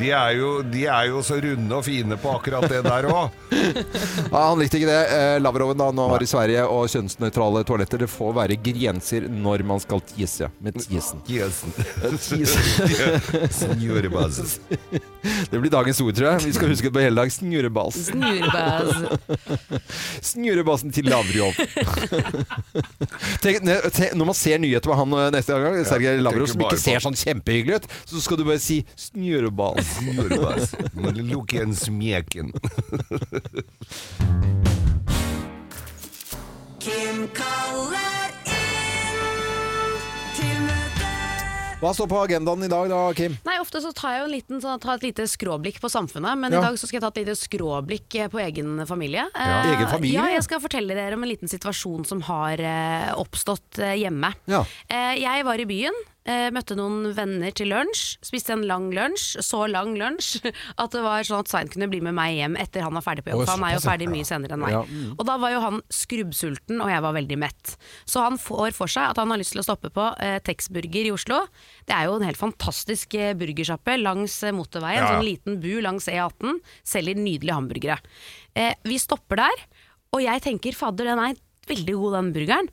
B: de, er jo, de er jo så runde og fine på akkurat det der òg.
A: Ja, han likte ikke det. Eh, Lavroven da, nå var i Sverige, og kjønnsnøytrale toaletter. Det får være grenser når man skal tisse med tissen.
B: Snurrebass.
A: Det blir dagens ord, tror jeg. Vi skal huske det på hele dag. Snurrebass.
C: Snurbæs.
A: Snurrebassen til Lavrov. tenk, ne, tenk, når man ser nyheter med han eh, neste gang, Sergej Lavrov,
B: tenker
A: som
B: bare
A: ikke
B: på-
A: ser sånn kjempehyggelig ut, så skal du bare si 'snurrebass'.
B: Snurrebass. Lukk igjen smeken.
D: Kim kaller inn til møte.
A: Hva står på agendaen i dag da, Kim?
C: Nei, ofte så tar jeg jo en liten, sånn, tar et lite skråblikk på samfunnet, men
A: Ja.
C: i dag så skal jeg ta et lite skråblikk eh, på egen familie. Eh,
A: Egen familie?
C: Ja, jeg skal fortelle dere om en liten situasjon som har eh, oppstått eh, hjemme.
A: Ja.
C: Eh, jeg var i byen, eh, møtte noen venner til lunsj, spiste en lang lunsj, så lang lunsj at det var sånn at Svein kunne bli med meg hjem etter han var ferdig på jobb.
A: Å,
C: for han er jo
A: såpass, ja.
C: ferdig mye senere enn meg.
A: Ja.
C: Og da var jo han skrubbsulten, og jeg var veldig mett. Så han får for seg at han har lyst til å stoppe på eh, Texburger i Oslo. Det er jo en helt fantastisk eh, burgersjappe langs eh, motorveien,
B: Ja.
C: sånn liten bu langs E18. Selger nydelige hamburgere. Eh, vi stopper der, og jeg tenker fadder, den er veldig god, den burgeren.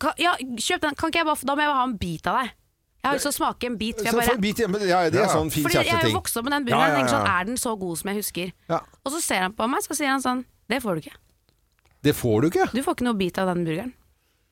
C: Kan, ja, kjøp den. Kan ikke jeg bare, da må jeg bare ha en bit av deg. Jeg har lyst til å smake en bit. For
A: Så
C: jeg
A: få en
C: bare,
A: bit hjemme. Ja, det er
B: Ja.
A: sånn fin
C: fordi jeg er jo
A: kjæresteting.
C: vokst opp med
A: Ja,
C: den burgeren.
A: ja,
C: og tenker
A: ja.
C: Sånn, er den så god som jeg husker?
A: Ja.
C: Og så ser han på meg, så sier han sånn Det får du ikke.
A: Det får du ikke.
C: Du får ikke noe bit av den burgeren.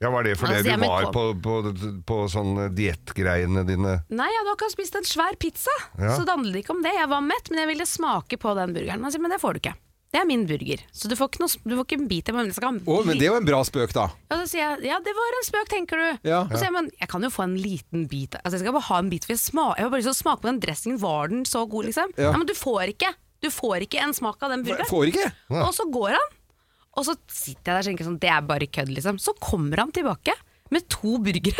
B: Ja, var det fordi
C: Altså,
B: du
C: jeg må
B: var
C: gå-
B: på, på, på sånne diettgreiene dine?
C: Nei, jeg hadde akkurat spist en svær pizza,
B: Ja.
C: så det handlet ikke om det. Jeg var mett, men jeg ville smake på den burgeren. Han sier, men det får du ikke. Det er min burger, så du får ikke, noe, du får ikke en bit av meg. men jeg skal ha en
A: Å, men
C: bit.»
A: det er jo en bra spøk, da.
C: Og så sier jeg, ja, det var en spøk, tenker du.
A: Ja.
C: Og så sier jeg, men jeg kan jo få en liten bit. Altså, jeg skal bare ha en bit, for jeg, sma jeg har bare lyst til å smake på den dressingen. Var den så god, liksom?
A: Ja.
C: Ja. men du får ikke. Du får ikke en smak av den burgeren.
A: Får ikke.
C: Og så går han, og så sitter jeg der og tenker sånn, det er bare kødd, liksom. Så kommer han tilbake med to burgere.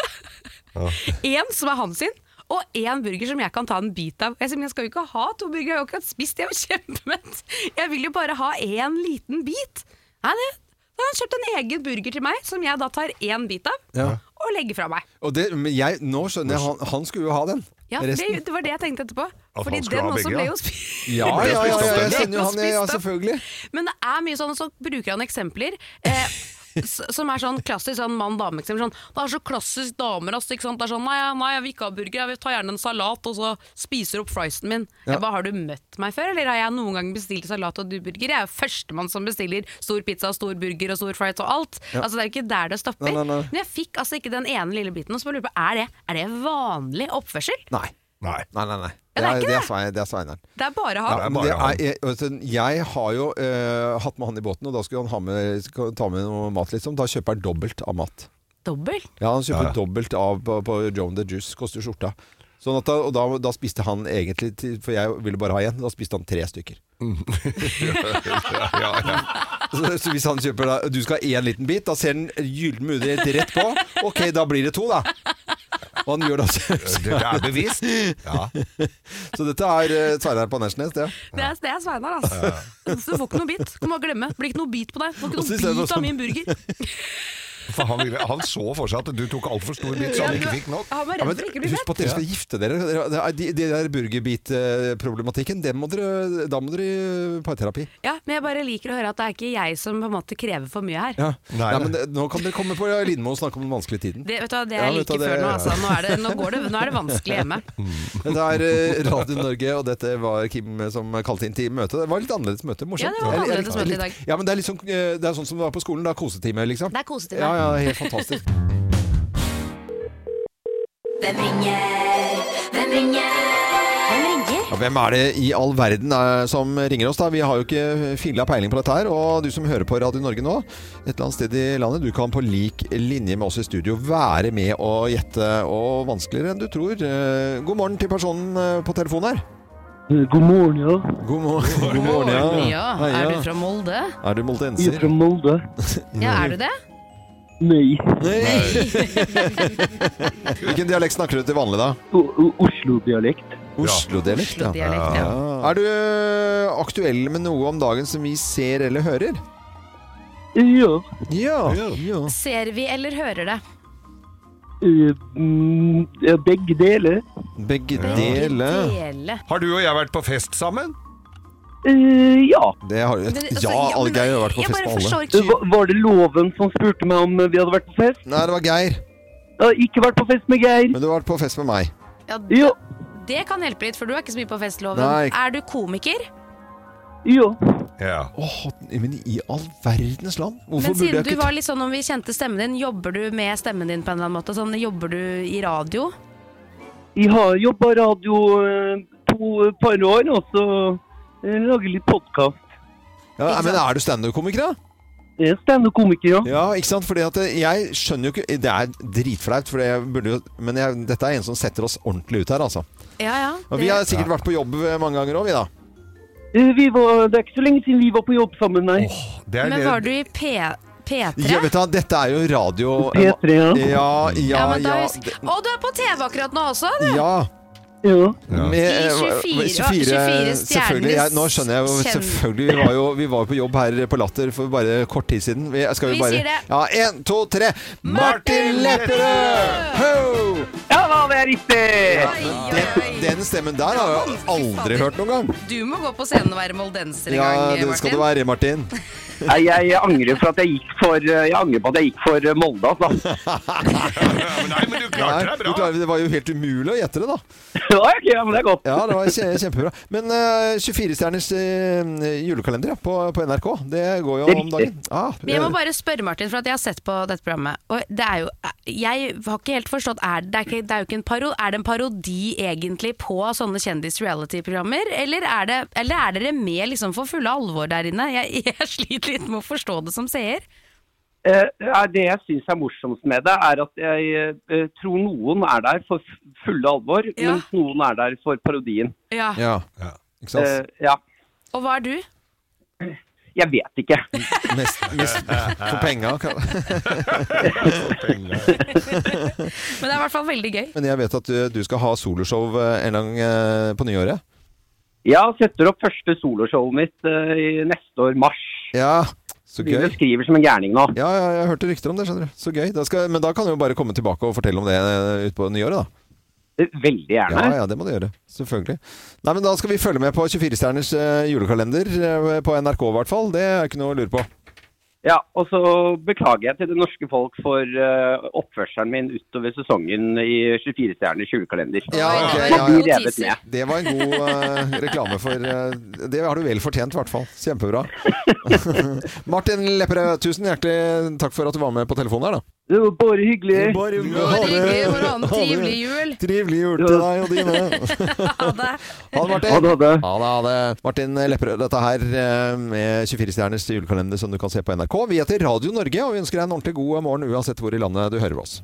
C: Én som er hans sin, og én burger som jeg kan ta en bit av. Jeg sier, men jeg skal jo ikke ha to burgere, jeg har jo ikke spist, jeg er jo kjempemett. Jeg vil jo bare ha én liten bit. Nei, det så har han kjøpt en egen burger til meg, som jeg da tar én bit av,
A: Ja.
C: og legger fra meg.
A: Og det, men jeg, nå skjønner jeg, han, han skulle jo ha den.
C: Ja, det,
A: Resten.
C: det var det jeg tenkte etterpå.
B: At
C: Fordi
B: han skulle
C: den
B: ha
C: også
B: begge,
C: ble
B: ja.
C: jo spist.
A: Ja,
B: ble
A: ja, ja,
B: spist opp,
A: ja,
B: den.
A: jeg kjenner jo han, ja, ja,
C: Spist opp.
A: selvfølgelig.
C: Men det er mye sånn, og så bruker han eksempler. Eh, s- som er sånn klassisk sånn mann-dame-eksempel. Sånn, det er så klassisk damer. ass, ikke sant? Det er sånn, nei, nei, jeg vil ikke ha burger, jeg vil ta gjerne en salat, og så spiser opp friesen min.
A: Ja.
C: Jeg bare, Har du møtt meg før, eller har jeg noen gang bestilt salat og du burger? Jeg er jo førstemann som bestiller stor pizza, og stor burger og stor fries og alt. Altså Det er jo ikke der det stopper.
A: Nei, nei, nei.
C: Men jeg fikk altså ikke den ene lille biten, og så bare lurer jeg på, er det, er det vanlig oppførsel?
A: Nei.
B: Nei.
A: Nei, nei, nei.
C: Ja, det er ikke
A: det
C: det.
A: er, Svein- det er Sveineren.
C: Det er bare han.
B: Ja.
A: Men
B: bare
A: det
B: han.
A: er, jeg, altså, jeg har jo eh, hatt med han i båten, og da skulle han ha med, skal ta med noe mat, liksom. Da kjøper han dobbelt av mat.
C: Dobbelt.
A: Ja, han kjøper
B: Ja, ja.
A: dobbelt av på, på Joan the Juice, koster skjorta. Sånn at da, og da, da spiste han egentlig, til, for jeg ville bare ha én, da spiste han tre stykker.
B: Ja, ja.
A: Så, så hvis han kjøper da, du skal ha én liten bit, da ser han gyllen mulighet rett på. Ok, da blir det to, da. Og han gjør det altså.
B: Det er bevisst. Ja.
A: Så dette er eh, Sverre på Nesjnes, det.
C: Det er, det er Sveinar, altså. Du får ikke noe bit. Du må bare glemme. Det blir ikke noe bit på deg. Du får
A: Og
C: ikke
A: så
C: noe
A: ser jeg sånn
C: bit
A: også-
C: av min burger.
B: For han, ville, han så for seg at du tok altfor stor bit, så
C: Ja,
B: han
C: du-
B: ikke fikk nok.
C: Han var
A: Ja,
C: redd
A: men
C: for ikke å bli
A: husk på at dere skal gifte dere. Dere- Det er de, de der burgerbit-problematikken, den må dere- da må dere i parterapi.
C: Ja, men jeg bare liker å høre at det er ikke jeg som på en måte krever for mye her.
A: Ja. Nei,
B: Nei,
A: men det, nå kan dere komme på Lindmo og snakke om den vanskelige tiden.
C: Det, vet du, hva, det
A: Ja,
C: jeg
A: vet du hva,
C: liker
A: det-
C: før nå, altså. Nå er det, nå går det, nå er det vanskelig hjemme.
A: Dette er eh, Radio Norge, og dette var Kim eh, som kalte inn til møte. Det var litt annerledes møte. Morsomt.
C: Ja, det var
A: Jeg- jeg
C: annerledes
A: likte det
C: møte i
A: litt.
C: dag.
A: Ja, men det er, litt sånn, eh, det er sånn som det var på skolen, da. Kosetime, liksom.
C: Det er kosetime.
A: Ja, ja, helt fantastisk. Ja, hvem er det i all verden eh, som ringer oss, da? Vi har jo ikke filla peiling på dette her. Og du som hører på Radio Norge nå, et eller annet sted i landet, du kan på lik linje med oss i studio være med og gjette, og vanskeligere enn du tror. Eh, God morgen til personen eh, på telefonen her.
I: Eh, God morgen, ja.
A: God morgen. God morgen, ja.
C: Ja,
A: Hei,
C: er
A: ja. Mm.
C: du fra Molde?
A: Er du
I: Jeg er
A: moldenser?
I: fra Molde.
C: Ja, er du det?
I: Nei.
A: Nei! Hvilken dialekt snakker du til vanlig, da?
I: O- o- Oslo-dialekt.
A: Oslo-dialekt, ja.
C: Dialekt, ja.
A: Er du eh, aktuell med noe om dagen som vi ser eller hører?
I: Ja.
A: Ja.
B: Ja.
A: ja.
C: Ser vi eller hører det?
I: eh, mm, ja, Begge deler.
A: Begge
B: Ja.
A: deler.
C: Dele.
B: Har du og jeg vært på fest sammen?
I: Eh, Ja.
A: Det har,
C: Men, altså,
A: ja,
C: ja,
A: alle
C: men
A: Geir har vært på
C: jeg
A: fest
C: bare
A: med alle.
C: forstår
I: Eh,
C: ikke-
I: va- Var det Loven som spurte meg om eh, vi hadde vært på fest?
A: Nei, det var Geir.
I: Jeg har ikke vært på fest med Geir.
A: Men du har vært på fest med meg.
C: Ja,
I: Ja.
C: det kan hjelpe litt, for du er ikke så mye på festloven.
A: Nei.
C: Er du komiker?
I: Ja.
B: Ja.
A: Åh, men i all verdens land! Hvorfor
C: Men
A: burde
C: siden
A: jeg
C: du
A: ikke
C: var litt sånn om vi kjente stemmen din, jobber du med stemmen din på en eller annen måte? Sånn, jobber du i radio?
I: Jeg har jobba radio eh, to eh, par år, og så eh, lager litt podkast.
A: ja, nei, Men er du standup-komiker, da?
I: Jeg er Eh, standup-komiker, ja.
A: Ja, ikke sant? Fordi at eh, jeg skjønner jo ikke Det er dritflaut, for jeg burde jo Men jeg, dette er en som setter oss ordentlig ut her, altså.
C: Ja, ja.
A: Og vi har sikkert vært på jobb eh, mange ganger òg, vi da.
I: Eh, Vi var, det er ikke så lenge siden vi var på jobb sammen, nei.
B: Det er
C: Men
B: det-
C: var du i P P3?
A: Ja, vet du, hva, dette er jo radio
I: P3, ja.
A: Ja,
C: Ja,
A: ja,
C: men da
A: ja.
C: husker- Å, du er på TV akkurat nå også? du!
A: ja.
I: Ja.
B: Ja.
A: Med,
C: I
A: eh,
C: 24
A: selvfølgelig,
C: stjerner
A: jeg, Nå skjønner jeg jo
C: kjenn-
A: Selvfølgelig, vi var jo, vi var jo på jobb her på Latter for bare kort tid siden. Vi, skal
C: Vi
A: bare,
C: sier det.
A: Ja, en, to, tre. Martin Lepperød! Ho!
I: Ja, det er riktig!
C: Oi,
A: Den,
C: oi, oi.
A: den stemmen der har jeg aldri hørt noen gang.
C: Du må gå på scenen og være moldenser en
A: Ja,
C: gang,
A: det
C: Martin.
A: skal det være, Martin.
I: Nei, jeg angrer, for at jeg gikk for, eh, jeg angrer på at jeg gikk for Molde, altså.
B: Men Nei, men du
A: Nei,
B: klarte deg
A: du
B: bra.
A: klarer- det var jo helt umulig å gjette det, da.
I: ok, ja, men det er godt.
A: Ja, det var kje- kjempebra. Men 24-stjerners julekalender ja, på, på NRK, det går jo
I: Det er
A: om dagen. Ah,
C: Men jeg må bare spørre, Martin, for at jeg har sett på dette programmet. Og det er jo Jeg har ikke helt forstått Er det, det er ikke, det er jo ikke en paro, er det en parodi egentlig på sånne kjendis-reality-programmer? Eller, er det- eller er dere med liksom for fulle alvor der inne? Jeg, jeg sliter litt med å forstå det som seer.
I: Eh, eh, det jeg syns er morsomst med det, er at jeg eh, tror noen er der for f- fulle alvor,
C: Ja.
I: mens noen er der for parodien.
C: Ja.
A: Ja,
B: Ja.
A: ikke sant?
I: Eh, ja,
C: Og hva er du?
I: jeg vet ikke.
A: Mest, mest for penga. kan-
C: Men det er i hvert fall veldig gøy.
A: Men jeg vet at eh, du, du skal ha soloshow eh, en gang eh, på nyåret.
I: Ja, setter opp første soloshowet mitt eh, i neste år, mars.
A: Ja, så
I: Vi
A: gøy.
I: beskriver som en gærning nå.
A: Ja, ja, jeg hørte rykter om det, skjønner du. Så gøy. Da skal, men da kan du jo bare komme tilbake og fortelle om det eh, utpå nyåret, da.
I: Eh, Veldig gjerne.
A: Ja, ja, det må du gjøre. Selvfølgelig. Nei, men da skal vi følge med på 24-stjerners eh, julekalender, eh, på NRK i hvert fall. Det er ikke noe å lure på.
I: Ja, og så beklager jeg til det norske folk for eh, oppførselen min utover sesongen i 24-stjerners julekalender.
A: Ja, ok,
I: Man
A: ja,
I: blir
C: ja.
I: revet med.
A: Det var en god eh, reklame for eh, Det har du vel fortjent, i hvert fall. Kjempebra. Martin Lepperød, tusen hjertelig takk for at du var med på telefonen her, da.
I: Det var bare hyggelig.
A: Bare
C: Hyggelig å ha en trivelig jul.
A: Trivelig jul til deg og dine.
C: Ha det.
A: Ha det,
I: Ha
A: Martin.
I: det, ha det.
A: Ha det, ha det. Martin Lepperød, dette her eh, med 24-stjerners julekalender som du kan se på NRK. Vi heter Radio Norge, og vi ønsker deg en ordentlig god morgen uansett hvor i landet du hører oss.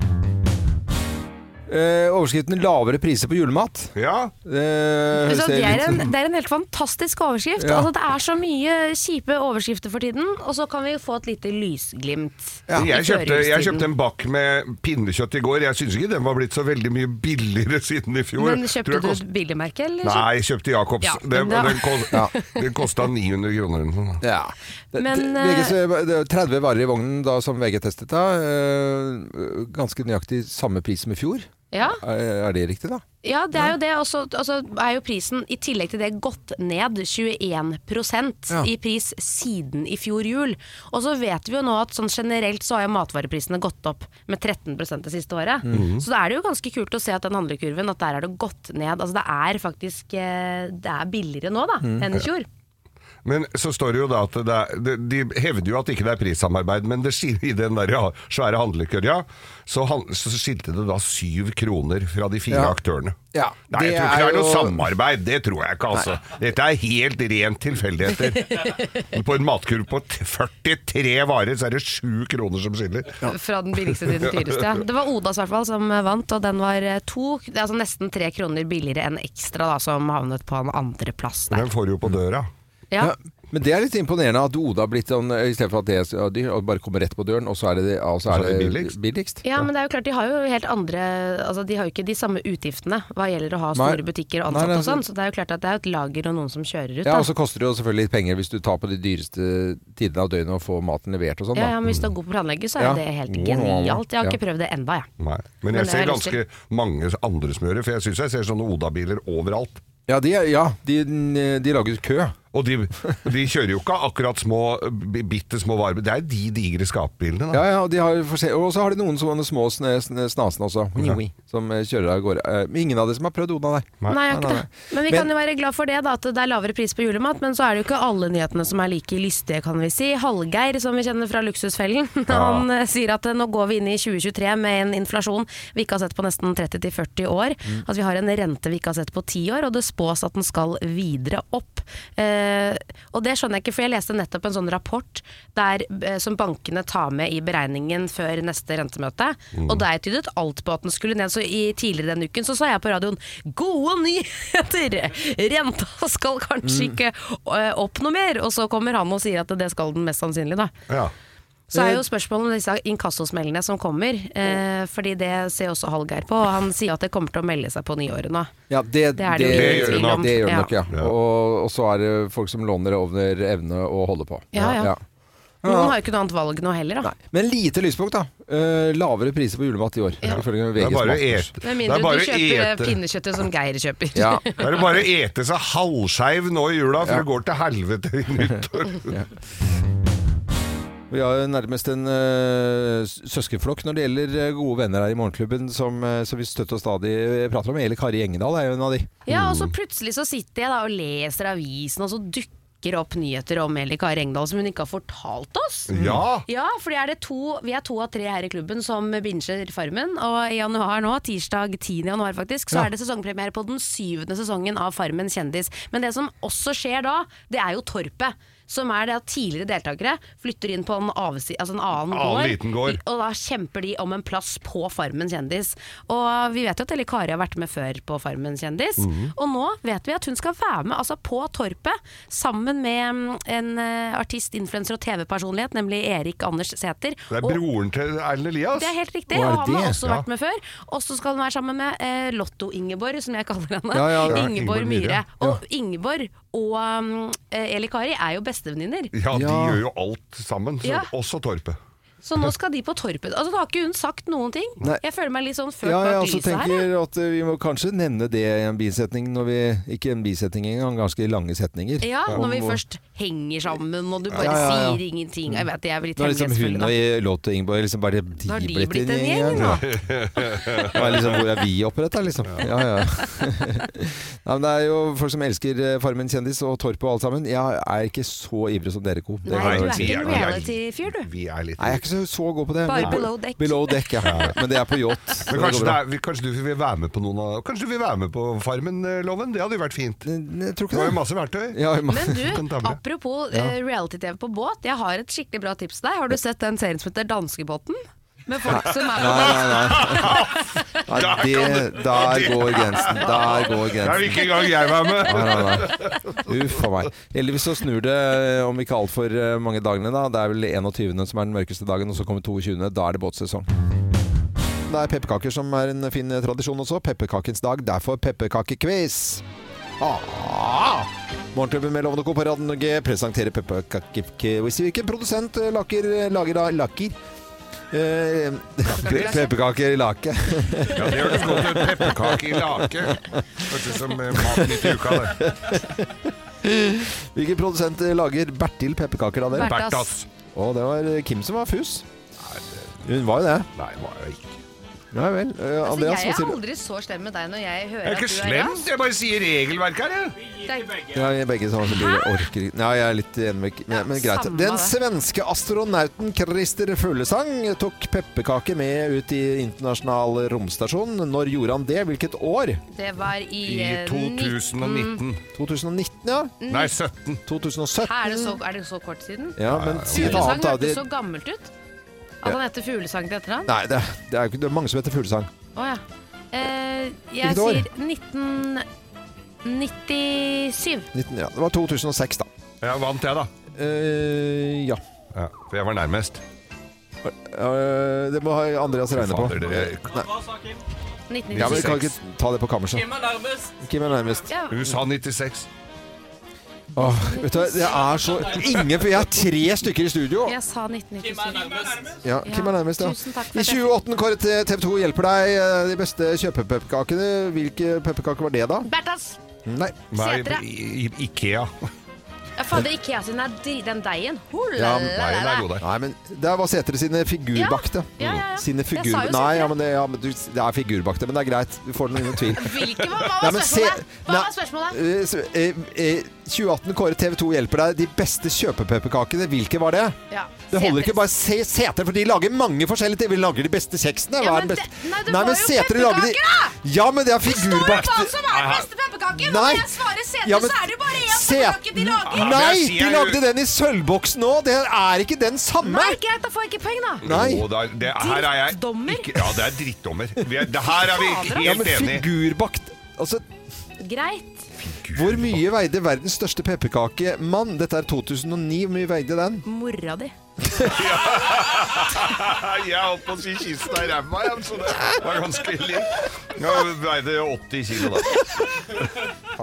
A: Eh, overskriften 'Lavere priser på julemat'. Eh,
B: Ja.
C: Så det, er en,
B: sånn.
C: det er en helt fantastisk overskrift.
A: Ja.
C: Altså, det er så mye kjipe overskrifter for tiden, og så kan vi få et lite lysglimt.
B: Jeg,
C: i
B: kjøpte, jeg
C: førjulstiden.
B: kjøpte en bakk med pinnekjøtt i går. Jeg syns ikke den var blitt så veldig mye billigere siden i fjor.
C: Men
B: Tror
C: kjøpte
B: jeg
C: du
B: kost-
C: et billigmerke, eller?
B: Nei, jeg kjøpte Jacobs.
C: Ja,
B: den,
C: men da-
B: den, kost,
A: Ja.
B: den kosta 900 kroner. eller noe sånt.
A: Ja.
C: Men,
A: Det- VGs, eh, det er 30 varer i vognen da, som VG testet da. eh, Ganske nøyaktig samme pris som i fjor.
C: Ja.
A: Er er det riktig, da?
C: Ja, det er jo det. Og så og så er jo prisen i tillegg til det gått ned 21
A: Ja.
C: i pris siden i fjor jul. Og så vet vi jo nå at sånn generelt så har jo matvareprisene gått opp med 13 det siste året. Så da er det jo ganske kult å se at den handlekurven at der er det gått ned. Altså det er faktisk eh, Det er billigere nå da enn i fjor.
B: Men så står det jo da at det er, de, de hevder jo at ikke det er prissamarbeid, men det skil, i den der ja, svære handlekørja, så, han, så skilte det da syv kroner fra de fire
A: Ja.
B: aktørene.
A: Ja,
B: Nei, jeg
A: det
B: tror
A: er
B: ikke det er noe
A: jo-
B: samarbeid, det tror jeg ikke altså. Dette er helt rent tilfeldigheter. på en matkurv på t- 43 varer, så er det sju kroner som skiller.
C: Fra den billigste til den dyreste. ja. Det var Odas i hvert fall som vant, og den var eh, to, altså nesten tre kroner billigere enn Ekstra, da, som havnet på en andreplass der.
B: Den får du jo på døra.
C: Ja.
A: Ja, men det er litt imponerende at Oda har blitt sånn eh, I stedet for at det er dyrt, og bare kommer rett på døren, og så er det, det- og så er det billigst.
C: Ja, men det er jo klart, de har jo helt andre altså De har jo ikke de samme utgiftene hva gjelder å ha
A: Nei.
C: store butikker og ansatte
A: Nei, nei,
C: og sånn, så det er jo klart at det er jo et lager og noen som kjører ut.
A: Ja,
C: Da.
A: og så koster det jo selvfølgelig litt penger hvis du tar på de dyreste tidene av døgnet og får maten levert og sånn.
C: ja,
A: da.
C: ja, men hvis du er god på planlegger, så er
A: Ja.
C: jo det helt genialt. Jeg
A: Ja.
C: har ikke prøvd det ennå, jeg.
B: Nei. Men
C: Men
B: jeg
C: det
B: ser
C: har jeg lyst
B: ganske mange andre som gjør det, for jeg syns jeg ser sånne Oda-biler overalt.
A: Ja, de, er- ja de, de lager kø.
B: Og de, de kjører jo ikke akkurat små, b- bitte små varer. Det er jo de digre skapbilene, da.
A: Ja, ja, og, de har, forskjell- og så har de noen sånne små sn- sn- snasene også, som eh, kjører av gårde. Eh, Men ingen av de som har prøvd Oda, nei.
C: Nei, jeg har
A: Nei, nei,
C: ikke det. Men vi
A: Men-
C: kan jo være glad for det, da, at det er lavere pris på julemat. Men så er det jo ikke alle nyhetene som er like lystige, kan vi si. Hallgeir, som vi kjenner fra Luksusfellen, han eh, sier at eh, nå går vi inn i 2023 med en inflasjon vi ikke har sett på nesten 30-40 år. At vi har en rente vi ikke har sett på 10 år, og det spås at den skal videre opp. Eh, og det skjønner jeg ikke, for jeg leste nettopp en sånn rapport der, eh, som bankene tar med i beregningen før neste rentemøte.
B: Mm.
C: Og der tydet alt på at den skulle ned. Så i, tidligere den uken så sa jeg på radioen gode nyheter! Renta skal
B: Mm.
C: kanskje ikke eh, opp noe mer. Og så kommer han og sier at det skal den mest sannsynlig, da.
B: Ja.
C: Så
B: Eh.
C: er jo spørsmålet om disse inkassosmellene som kommer, eh, fordi det ser også Hallgeir på. Og han sier at det kommer til å melde seg på nyåret nå.
A: Ja, det,
C: Det er det jo
B: ingen tvil om.
A: Det gjør det
C: Ja.
A: nok, ja.
B: Ja.
A: Og, og så er det folk som låner over evne og holder på.
C: Ja, ja. Noen har jo ikke noe annet valg nå heller, da.
A: Nei. Men lite lyspunkt, da. Eh, lavere priser på julemat i år. Ifølge
B: Det
A: VGs
B: er bare å
A: matkurs.
B: ete.
C: Med
B: Det
C: mindre
B: er bare
C: du
B: å
C: kjøper eh,
B: ete.
C: pinnekjøttet som Geir kjøper.
A: Ja.
B: Da er det bare å ete seg halvskeiv nå i jula, for det går til helvete i nyttår.
A: Mm. Vi har jo nærmest en eh, s- søskenflokk når det gjelder eh, gode venner her i Morgenklubben, som, eh, som vi støtter og stadig prater om. Eller Kari Engedal er jo en av de.
C: Ja,
B: Mm.
C: og så plutselig så sitter jeg da og leser avisen, og så dukker opp nyheter om Eli Kari Engdahl som hun ikke har fortalt oss.
B: Ja!
C: Ja, for det er det to, vi er to av tre her i klubben som binger Farmen. Og i januar nå, tirsdag 10. januar faktisk, så
A: Ja.
C: er det sesongpremiere på den syvende sesongen av Farmen kjendis. Men det som også skjer da, det er jo Torpet. Som er det at tidligere deltakere flytter inn på en, avsi, altså en annen,
B: Annen liten gård.
C: Og da kjemper de om en plass på Farmen kjendis. Og vi vet jo at Eli Kari har vært med før på Farmen kjendis.
A: Mhm.
C: Og nå vet vi at hun skal være med altså på Torpet sammen med mm, en eh, artist, influenser og TV-personlighet, nemlig Erik Anders Sæther.
B: Det er
C: Og-
B: broren til Erlend Elias.
C: det er helt riktig,
A: Å, er det
C: og han har
A: det?
C: også
B: Ja.
C: vært med før. Og så skal han være sammen med eh, Lotto-Ingeborg, som jeg kaller henne.
A: Ja, ja, ja,
B: Ingeborg
C: Ingeborg Myhre.
B: Myhre.
C: Og Ingeborg og um, eh, Eli Kari er jo bestevenninner,
B: Ja, de
A: Ja.
B: gjør jo alt sammen. Så,
C: Ja.
B: Også Torpet.
C: så nå skal de på Torpet. Altså, Da har ikke hun sagt noen ting.
A: Nei.
C: Jeg føler meg litt sånn ført
A: Ja, jeg
C: bak
A: også
C: lyset her. jeg.
A: tenker at eh, vi må kanskje nevne det i en bisetning når vi Ikke en bisetning engang, ganske lange setninger.
C: Ja, når vi
A: Om-
C: først henger sammen, og du bare
A: Ja, ja, ja.
C: sier ingenting. Jeg vet, jeg er litt
A: Når liksom
C: hemmelighetsfull.
A: hun
C: da.
A: og Låt og Ingeborg liksom bare de
C: Da har de
A: blitt,
C: blitt en gjeng, da.
A: Ja, liksom, hvor er vi oppretta, liksom? Ja, ja. Nei, men det er jo folk som elsker eh, Farmen kjendis og Torp og alt sammen. Jeg er ikke så ivrig som dere, Ko. Det
C: Nei,
A: kan jeg
C: du
A: vel
C: er
A: si.
C: ikke en
B: vi er-
C: reality-fyr, du.
B: Vi er litt
A: Nei, jeg er ikke så, så god på det.
C: Bare
A: Men-
C: below deck.
A: Below deck, ja. Men det er på yacht. så
B: Men
A: det går
B: kanskje, det
A: bra.
B: er, vi- kanskje du vil være med på noen av Kanskje du vil være med på Farmen-loven? Det hadde jo vært fint.
A: Nei, Jeg tror
B: Det var jo
A: ikke det.
B: masse verktøy.
A: Ja, ma-
B: Kan
C: Men du,
B: ta med det.
C: apropos eh, reality-TV på båt, jeg har et skikkelig bra tips til deg. Har du sett den serien som heter Danskebåten?
D: med folk som er
A: Nei, nei, nei. nei det, der går grensen. Der går grensen.
B: Det er ikke engang jeg var med.
A: Nei, nei, nei. Uff a meg. Heldigvis så snur det eh, om ikke altfor eh, mange dagene, da. Det er vel 21. som er den mørkeste dagen, og så kommer 22. Da er det båtsesong. Det er pepperkaker som er en fin eh, tradisjon også. Pepperkakens dag, derfor pepperkakequiz. Ah! Morgenklubben med Lovende Co. på Radio Norge presenterer pepperkakequiz. Hvilken produsent eh, laker, lager da laker? Eh, pepperkaker i lake.
B: Ja, det hørtes godt ut. Pepperkake i lake. Hørtes ut som eh, maten i uka, det.
A: Hvilken produsent eh, lager Bertil pepperkaker da, dere?
B: Bertas. Bertas.
A: Å, det var Kim som var fus. Hun var jo det.
B: Nei, var jeg ikke.
A: Ja vel. Eh,
D: Altså, jeg
A: Andreas,
D: er
A: hva sier du?
D: aldri så slem med deg når jeg hører
B: Jeg er
D: at
B: ikke
D: du er
B: slem,
D: rask.
B: jeg bare sier regelverket her, jeg.
D: Det er-
A: Ja, jeg er begge sammen som blir orker ikke. Nei, jeg er litt enig med men, men greit.
D: samme
A: Den
D: det.
A: svenske astronauten Christer Fuglesang tok pepperkake med ut i internasjonal romstasjon. Når gjorde han det? Hvilket år?
D: Det var i,
B: I
D: eh, 19
B: 2019.
A: 2019, ja.
B: Nei, 17.
A: 2017.
D: Mm. Hæ, Er det, så, er det så kort siden?
A: Ja, men si et
D: Fuglesang
A: annet, da.
D: hørtes så
A: Det,
D: gammelt ut. At han heter Fuglesang til etternavn?
A: nei, det, det er jo ikke det er mange som heter Fuglesang.
D: Å ja. Eh, jeg
A: Hvilket år?
D: sier 1997.
A: 19, ja. Det var 2006, da.
B: Ja, vant jeg, da.
A: Eh, ja.
B: Ja, for jeg var nærmest.
A: Eh, det må ha Andreas regne på.
B: Fader, dere-
A: Nei, ja,
D: 1997.
A: men vi kan ikke ta det på kammerset.
G: Hvem er nærmest?
A: Kim er nærmest.
D: Ja,
B: USA 96.
A: Åh, vet du, hva, det er så Ingen For jeg har tre stykker i studio.
D: jeg sa 1997.
A: Ja, Kim er nærmest, ja.
D: Tusen takk for
A: I
D: det.
A: 2018 Kåre TV 2 hjelper deg eh, de beste kjøpepepperkakene. Hvilke pepperkaker var det, da?
D: Bertas!
A: Nei.
B: Nei,
D: Setre.
B: I, I, Ikea.
D: Ja, Fader, Ikea sin er dri- den deigen.
A: Ja,
D: Holala.
B: Veien er god der.
A: Nei, men Det var Setre sine figurbakte.
D: Ja, ja, ja, ja. Jeg
A: Sine
D: sa jo
A: figur...
D: Sætre.
A: Nei, ja, men det, ja, men du, det er figurbakte, men det er greit. Du får den ingen tvil.
D: Hvilke Hva
A: Nei,
D: hva var
A: men se-
D: spørsmålet? Hva
A: Nei.
D: var spørsmålet?
A: Eh, så, eh, eh, 2018 Kåre TV 2 hjelper deg. De beste kjøpepepperkakene, hvilke var det?
D: Ja,
A: Det holder
D: Setres.
A: ikke bare se Setre, for de lager mange forskjellige ting. Vi lager de beste kjeksene.
D: Ja,
A: Hva
D: men
A: er den beste?
D: det- nei, det var jo
A: Sætre lager de-
D: pepperkaker,
A: Ja, men det er
D: Står det hva
A: figurbakte
D: som er den beste pepperkaken? Og
A: Nei.
D: Når jeg svarer sete,
A: Ja, men-
D: så er det jo bare én
A: Set-
D: pepperkake de lager.
B: Ja, men
A: Nei,
B: jeg sier
A: de
B: jo-
A: lagde den i sølvboksen nå. Det er ikke den samme.
D: Nei, greit, da får jeg ikke poeng, da.
A: Nei.
B: Jo, da, det, her er jeg
D: Drittdommer.
B: Ikke, ja, det er drittdommer. Vi er, det her er vi
D: Fader,
A: Ja,
B: helt
A: men
B: enige.
A: figurbakt Altså,
D: Greit.
A: hvor mye veide verdens største pepperkakemann? Dette er 2009. Hvor mye veide den?
D: Mora di.
B: Jeg holdt på å si kisten er ræva, jeg, så det var ganske litt. Ja, hun veide 80 kilo, da.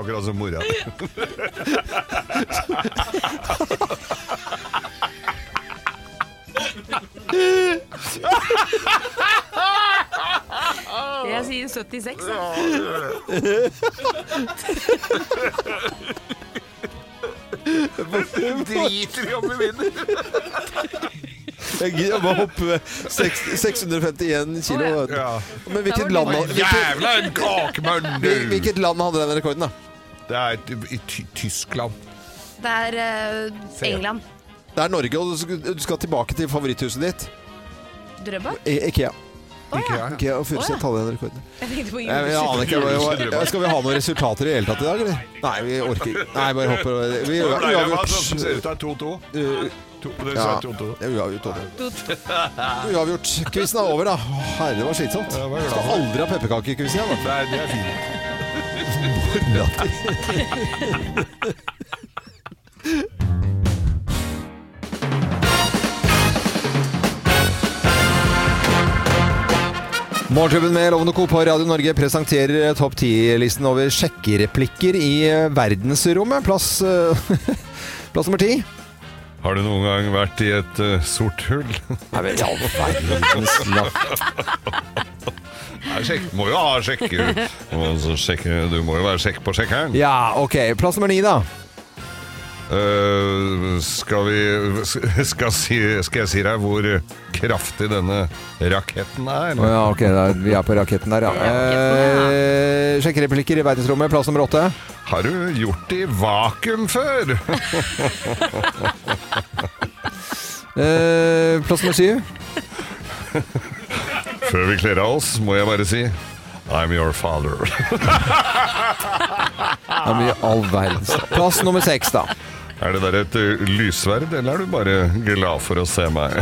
B: Akkurat som mora.
D: Jeg sier 76. da.
B: Driter i om vi vinner.
A: Jeg gidder bare hoppe seks- 651 kilo.
D: Å,
B: Ja.
A: Men hvilket
D: Da var
A: land,
D: det
A: hvilket,
B: Jævla en kakemann,
A: hvil-
B: du!
A: hvilket land hadde den rekorden, da?
B: Det er i Ty- Tyskland.
D: Det er eh, England.
A: Det er Norge, og du skal- du skal tilbake til favoritthuset ditt.
D: Drøbak?
A: I- Ikea.
B: Ikke jeg.
A: Ikea og Furuset
D: Å, ja.
A: hadde den rekorden.
D: Jeg tenkte på
A: Jeg, jeg aner ikke, hva- hva- ja, Skal vi ha noen resultater i det hele tatt i dag, eller? Nei, vi orker ikke. Nei, bare hopper over. Vi
B: Det
A: gjør
B: ble- det var sånn som ser
A: uavgjort.
B: ut av 2-2.
A: Uh,
B: To- det
A: Ja,
B: sa
A: det
B: 2-2.
A: er uavgjort. Odd. Uavgjort. Quizen er over, da. Å, Herre, det var slitsomt.
B: Ja, det var glad.
A: Skal aldri ha pepperkakequiz igjen. da.
B: Det er, det er fint.
A: Morgenklubben med Lovende Co. på Radio Norge presenterer eh, topp 10-listen over sjekkereplikker i eh, verdensrommet. Plass, eh, plass nummer ti.
B: Har du noen gang vært i et eh, sort hull?
A: Nei, men i all verdens land.
B: Nei, sjekk, må jo ha sjekker. Og så sjekker- Du må jo være sjekk på sjekkeren.
A: Ja, ok. Plass nummer ni, da.
B: Eh, skal vi skal, si, skal jeg si deg hvor kraftig denne raketten er?
A: Å ja, ok. Da, vi er på raketten der, ja. Eh, sjekkereplikker i verdensrommet. Plass nummer åtte.
B: Har du gjort det i vakuum før?
A: Eh, plass nummer syv.
B: Før vi kler av oss, må jeg bare si I'm your father.
A: Ja, men i all verdens land. Plass nummer seks, da.
B: Er det der et ø, lyssverd, eller er du bare glad for å se meg?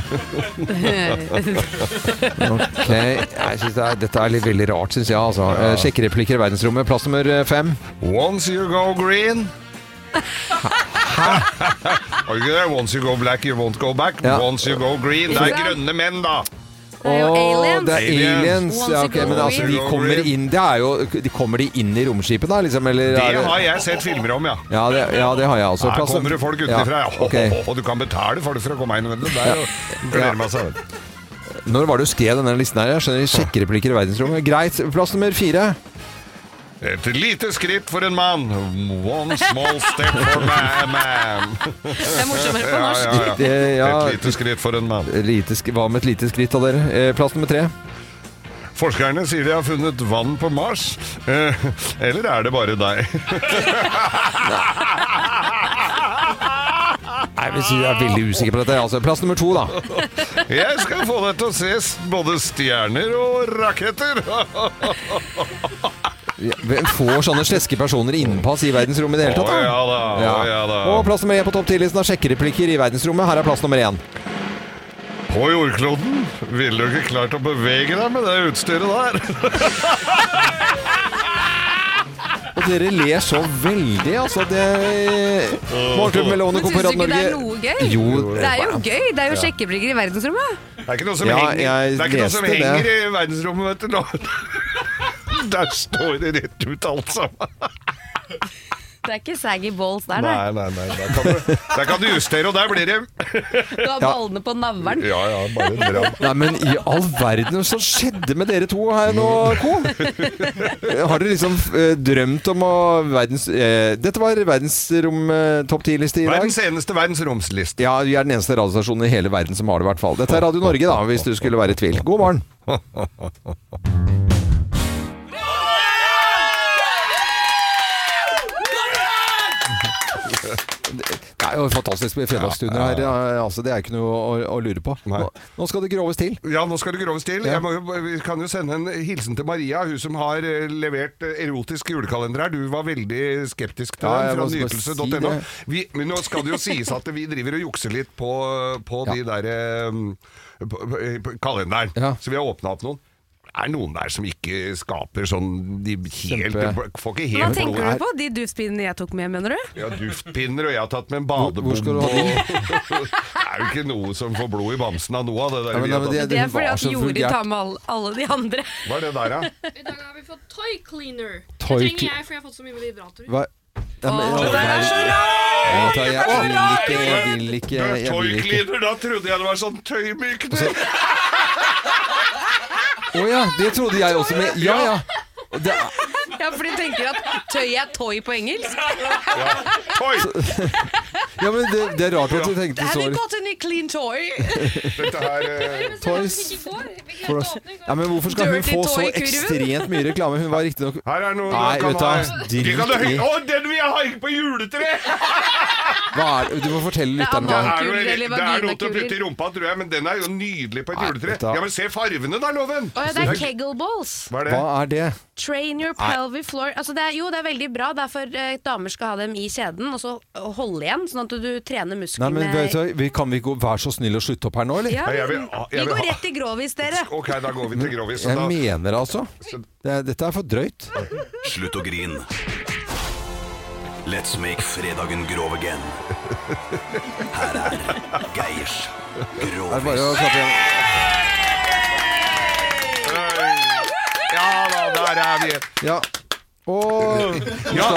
A: Ok, jeg synes det er, Dette er litt veldig rart, syns jeg. Altså. Eh, Sjekkereplikker i verdensrommet. Plass nummer eh, fem.
B: Once you go green Har du ikke det? Once you go black, you won't go back.
A: Ja.
B: Once you go green. Det er grønne menn, da!
A: Det er jo aliens. Det er
B: Aliens.
A: aliens. Ja, ok, men altså, de kommer inn Det er jo de Kommer de inn i romskipet, da? Liksom, eller,
B: Det
A: er
B: har jeg sett filmer om, ja.
A: Ja, det, ja, det har jeg også.
B: Her
A: Plass-
B: kommer det folk utenfra, ja.
A: Ja, ok.
B: Og du kan betale folk for å komme inn. Vet du. Det er jo gleder meg seg.
A: Når var det du skrev denne listen her? Jeg skjønner Sjekkereplikker i verdensrommet. Greit. Plass nummer fire.
B: Et lite skritt for en mann. One small step for a man. Det
D: er morsommere på norsk.
B: Ja, ja, ja.
A: Det- ja.
B: Et lite skritt for en mann.
A: Lite sk Hva med et lite skritt av dere? Eh, Plass nummer tre.
B: Forskerne sier de har funnet vann på Mars. Eh, eller er det bare deg?
A: Nei, jeg vil si jeg er veldig usikker på dette. Altså, plass nummer to, da.
B: Jeg skal få deg til å se s- både stjerner og raketter.
A: Hvem får sånne sleske personer innpass i verdensrommet i det hele tatt?
B: Å, ja da, å, ja da.
A: Og plass nummer én på topp 10-listen av sjekkereplikker i verdensrommet. Her er plass nummer én.
B: På jordkloden ville du ikke klart å bevege deg med det utstyret der.
A: Og dere ler så veldig, altså. Det Morten Melone
D: Men
A: kom på
D: syns du ikke
A: Radio
D: det er
A: Norge.
D: noe gøy?
A: Jo,
D: Det er jo gøy! Det er jo sjekkebrikker i verdensrommet.
B: Det er ikke noe som
A: Ja,
B: henger,
A: jeg
B: det er ikke noe som
A: leste det.
B: henger i verdensrommet, vet du. nå. Der står det rett ut alt sammen.
C: Det er ikke saggy balls der, nei.
B: Nei, nei, nei. Der kan du, der kan du justere, og der blir det
C: Du har ballene på navlen.
B: Ja, ja, bare dra.
A: Nei, men i all verden, hva som skjedde med dere to her nå, Co? Har dere liksom eh, drømt om å verdens... eh, dette var verdensrom eh, topp 10-liste i dag.
B: Verdens eneste verdensromsliste.
A: Ja, vi er den eneste radiostasjonen i hele verden som har det, i hvert fall. Dette er Radio Norge, da, hvis du skulle være i tvil. God morgen. Det er jo fantastisk med fredagsstunder her. ja, Altså, det er ikke noe å, å lure på.
B: Nei.
A: Nå, nå skal det groves til.
B: Ja, nå skal det groves til. Jeg må, jo- vi kan jo sende en hilsen til Maria, hun som har eh, levert eh, erotisk julekalender her. Du var veldig skeptisk til
A: Ja, jeg
B: den fra
A: må bare
B: nytelse.no.
A: si det.
B: Vi- men nå skal det jo sies at vi driver og jukser litt på, på de der eh, på, på, på kalenderen.
A: Ja.
B: Så vi har åpna opp noen. Det er noen der som ikke skaper sånn De helt
A: Kjempe.
B: Får ikke
C: Hva
B: helt
C: tenker
B: blod.
C: du på? De duftpinnene jeg tok med, mener du?
B: Ja, duftpinner, og jeg har tatt med en badebombe.
A: Hvor skal du ha
B: og- det er jo ikke noe som får blod i bamsen av noe av det der.
A: Ja, men-
B: vi
A: ja,
B: har
A: men
B: tatt.
A: det-
C: Det er
A: hun
C: fordi
A: var
C: at
A: så
C: Jori
A: vulgært.
C: tar med alle, alle de andre.
B: Hva er det der, da?
J: I dag har vi fått toy cleaner.
A: Toy
J: det trenger
A: cle-
J: jeg, for jeg har fått så mye vibratorer.
A: Hva? Nei, men-
C: Åh, det er så
A: Jeg tar- jeg vil ikke, jeg vil ikke, jeg vil ikke.
B: Toy-cleaner, da trodde jeg det var sånn tøymykner!
A: Å ja, det trodde jeg også med. Ja, ja. Det er,
C: Ja, for de tenker at tøy er toy på engelsk.
B: Toy!
A: ja, men det, det er rart at du tenkte
C: Have you
A: så
C: got any clean toy?
B: Dette her eh,
A: Toys for oss. Ja, men hvorfor skal hun
C: Dirty
A: få så
C: toy i kurven.
A: ekstremt mye reklame? Hun var riktignok
B: Her er noe
A: Nei,
B: du kan
A: vet du hva,
B: ha.
A: drit
B: Vi kan ha høy-
A: i.
B: Å, den vil jeg ha ikke på juletreet!
A: Hva er det? Du må fortelle
C: Det er
A: lytterne
B: Det
A: hva
B: er, noe,
C: Kuler eller
B: det er noe til å
C: vaginakuler.
B: putte i rumpa, tror jeg, men den er jo nydelig på et
A: Nei,
B: juletre.
A: vet du hva.
B: Ja, men se farvene da, Loven!
C: Å ja, det er kegel balls.
B: Hva er det?
A: Hva er det?
C: Train your pelvic floor. Altså det er, jo, det er veldig bra. Det er for eh, damer skal ha dem i kjeden, og så holde igjen, sånn at du trener
A: Nei,
C: musklene
A: men vet du, hva, vi kan vi gå, Vær så snill å slutte opp her nå, eller?
C: ja,
B: Nei, jeg
C: vi,
B: vil- ah, jeg
C: vi
B: vil
C: går
B: ha-
C: rett i grovis, dere.
B: Ok, da går vi til Grovis. og
A: Jeg
B: da-
A: mener altså.
B: Så-
A: Det, er- dette er for drøyt.
K: Slutt å grin. Let's make fredagen grov again. Her er Geirs
A: Det er bare
K: Grovis.
A: å klappe igjen.
B: Ja da, der er vi.
A: Ja. Og
B: Ja,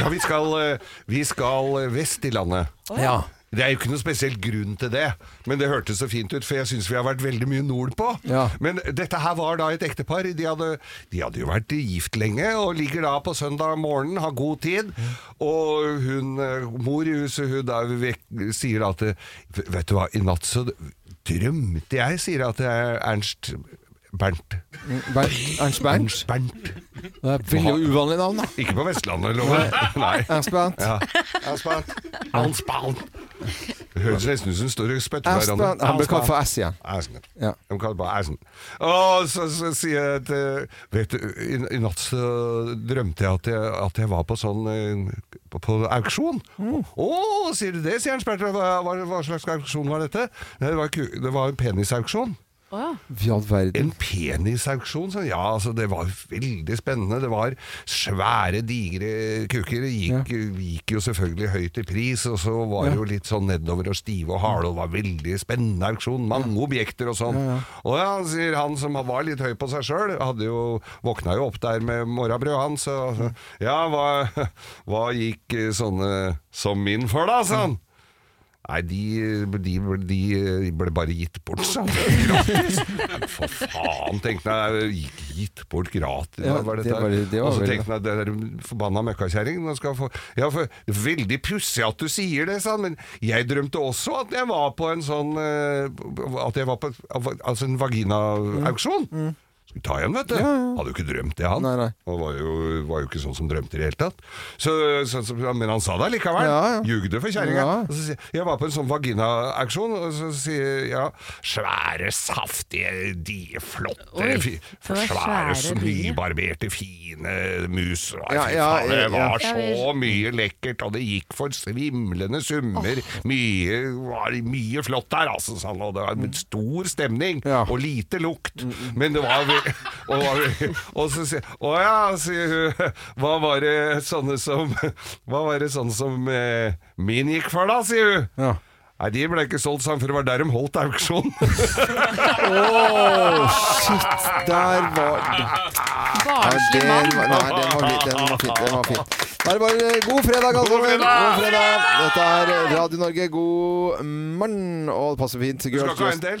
B: ja vi, skal, eh, vi skal eh, vest i landet.
A: ja.
B: Det er jo ikke noe spesiell grunn til det, men det hørtes så fint ut, for jeg syns vi har vært veldig mye nordpå.
A: Ja.
B: Men dette her var da et ektepar. De hadde, de hadde jo vært gift lenge, og ligger da på søndag morgen, har god tid. Og hun, eh, mor i huset, hun da vek- sier da at Vet du hva, i natt så drømte jeg, sier at det er Ernst Bernt.
A: Ber- Ernst Bernt.
B: Bernt.
A: Det er veldig uvanlig navn, da.
B: Ikke på Vestlandet, lover jeg. Nei.
A: Ernst Bernt.
B: Ja. Hans Bernt. Hans Bernt. Det høres nesten ut som de står og spytter på
A: Aspen,
B: hverandre.
A: han ble kalt for Ass, ja.
B: Assen.
A: Ja.
B: De kaller det bare Assen. Og så, så sier jeg at eh, Vet du, i, i natt så drømte jeg at jeg, at jeg var på sånn eh, på, på auksjon. Å, sier du det, sier han spurte. Hva, hva, hva slags auksjon var dette? Nei, det var, ku- det var en penisauksjon. En penisauksjon? sa jeg. Ja, altså, det var veldig spennende. Det var svære, digre kuker. Det gikk, gikk jo selvfølgelig høyt i pris, og så var det jo litt sånn nedover og stive og harde, og det var veldig spennende auksjon. Mange objekter og sånn.
A: Ja, ja.
B: Og ja, sier han som var litt høy på seg sjøl, hadde jo våkna jo opp der med morrabrød, han, så altså. Ja, hva, hva gikk eh, sånne som min for, da, sa han. Nei, de, de, de ble bare gitt bort, sa han. Gratis. For faen, tenkte jeg. Gikk gitt bort gratis.
A: Ja,
B: hva var
A: det
B: dette?
A: var- det var
B: og så
A: vel-
B: tenkte jeg, det der forbanna møkkakjerring nå skal jeg få, ja, for, det er Veldig pussig at du sier det, sa han. Men jeg drømte også at jeg var på en sånn eh, At jeg var på altså en vaginaauksjon.
A: Mm.
B: Skulle ta igjen, vet du. Hadde jo ikke drømt det, han. Han var jo, var jo ikke sånn som drømte i det hele tatt. Så, så, så, men han sa det likevel.
A: Ja, ja.
B: Jugde for kjerringa.
A: Ja.
B: Og så sier jeg, jeg var på en sånn vaginaauksjon, og så sier jeg ja Svære, saftige, de flotte
A: Oi,
B: fi,
A: det var
B: Svære,
A: svære dyr.
B: nybarberte, fine mus. og
A: Ja,
B: fy
A: ja,
B: faen, det
A: ja.
B: var
A: Ja, vi-
B: så mye lekkert, og det gikk for svimlende summer. Mye, var mye flott der, altså, sa han. Og det
A: Mm.
B: var en stor stemning, og lite lukt. Men det var vel- Og, var vel- og så sier Å ja, sier hun. Hva var det sånne som Hva var det sånne som eh, min gikk for, da, sier hun. Nei, de ble ikke solgt, sa han, for det var der de holdt auksjon.
A: Åh, shit, der var Nei,
B: Barnslig
A: den
B: mann.
A: var- Nei, den var litt- den var fin. Den var fin. Da er det bare eh, god fredag, alle sammen. God fredag. Dette er eh, Radio Norge, god morgen. Og det passer fint.
B: Du skal ikke ha en del?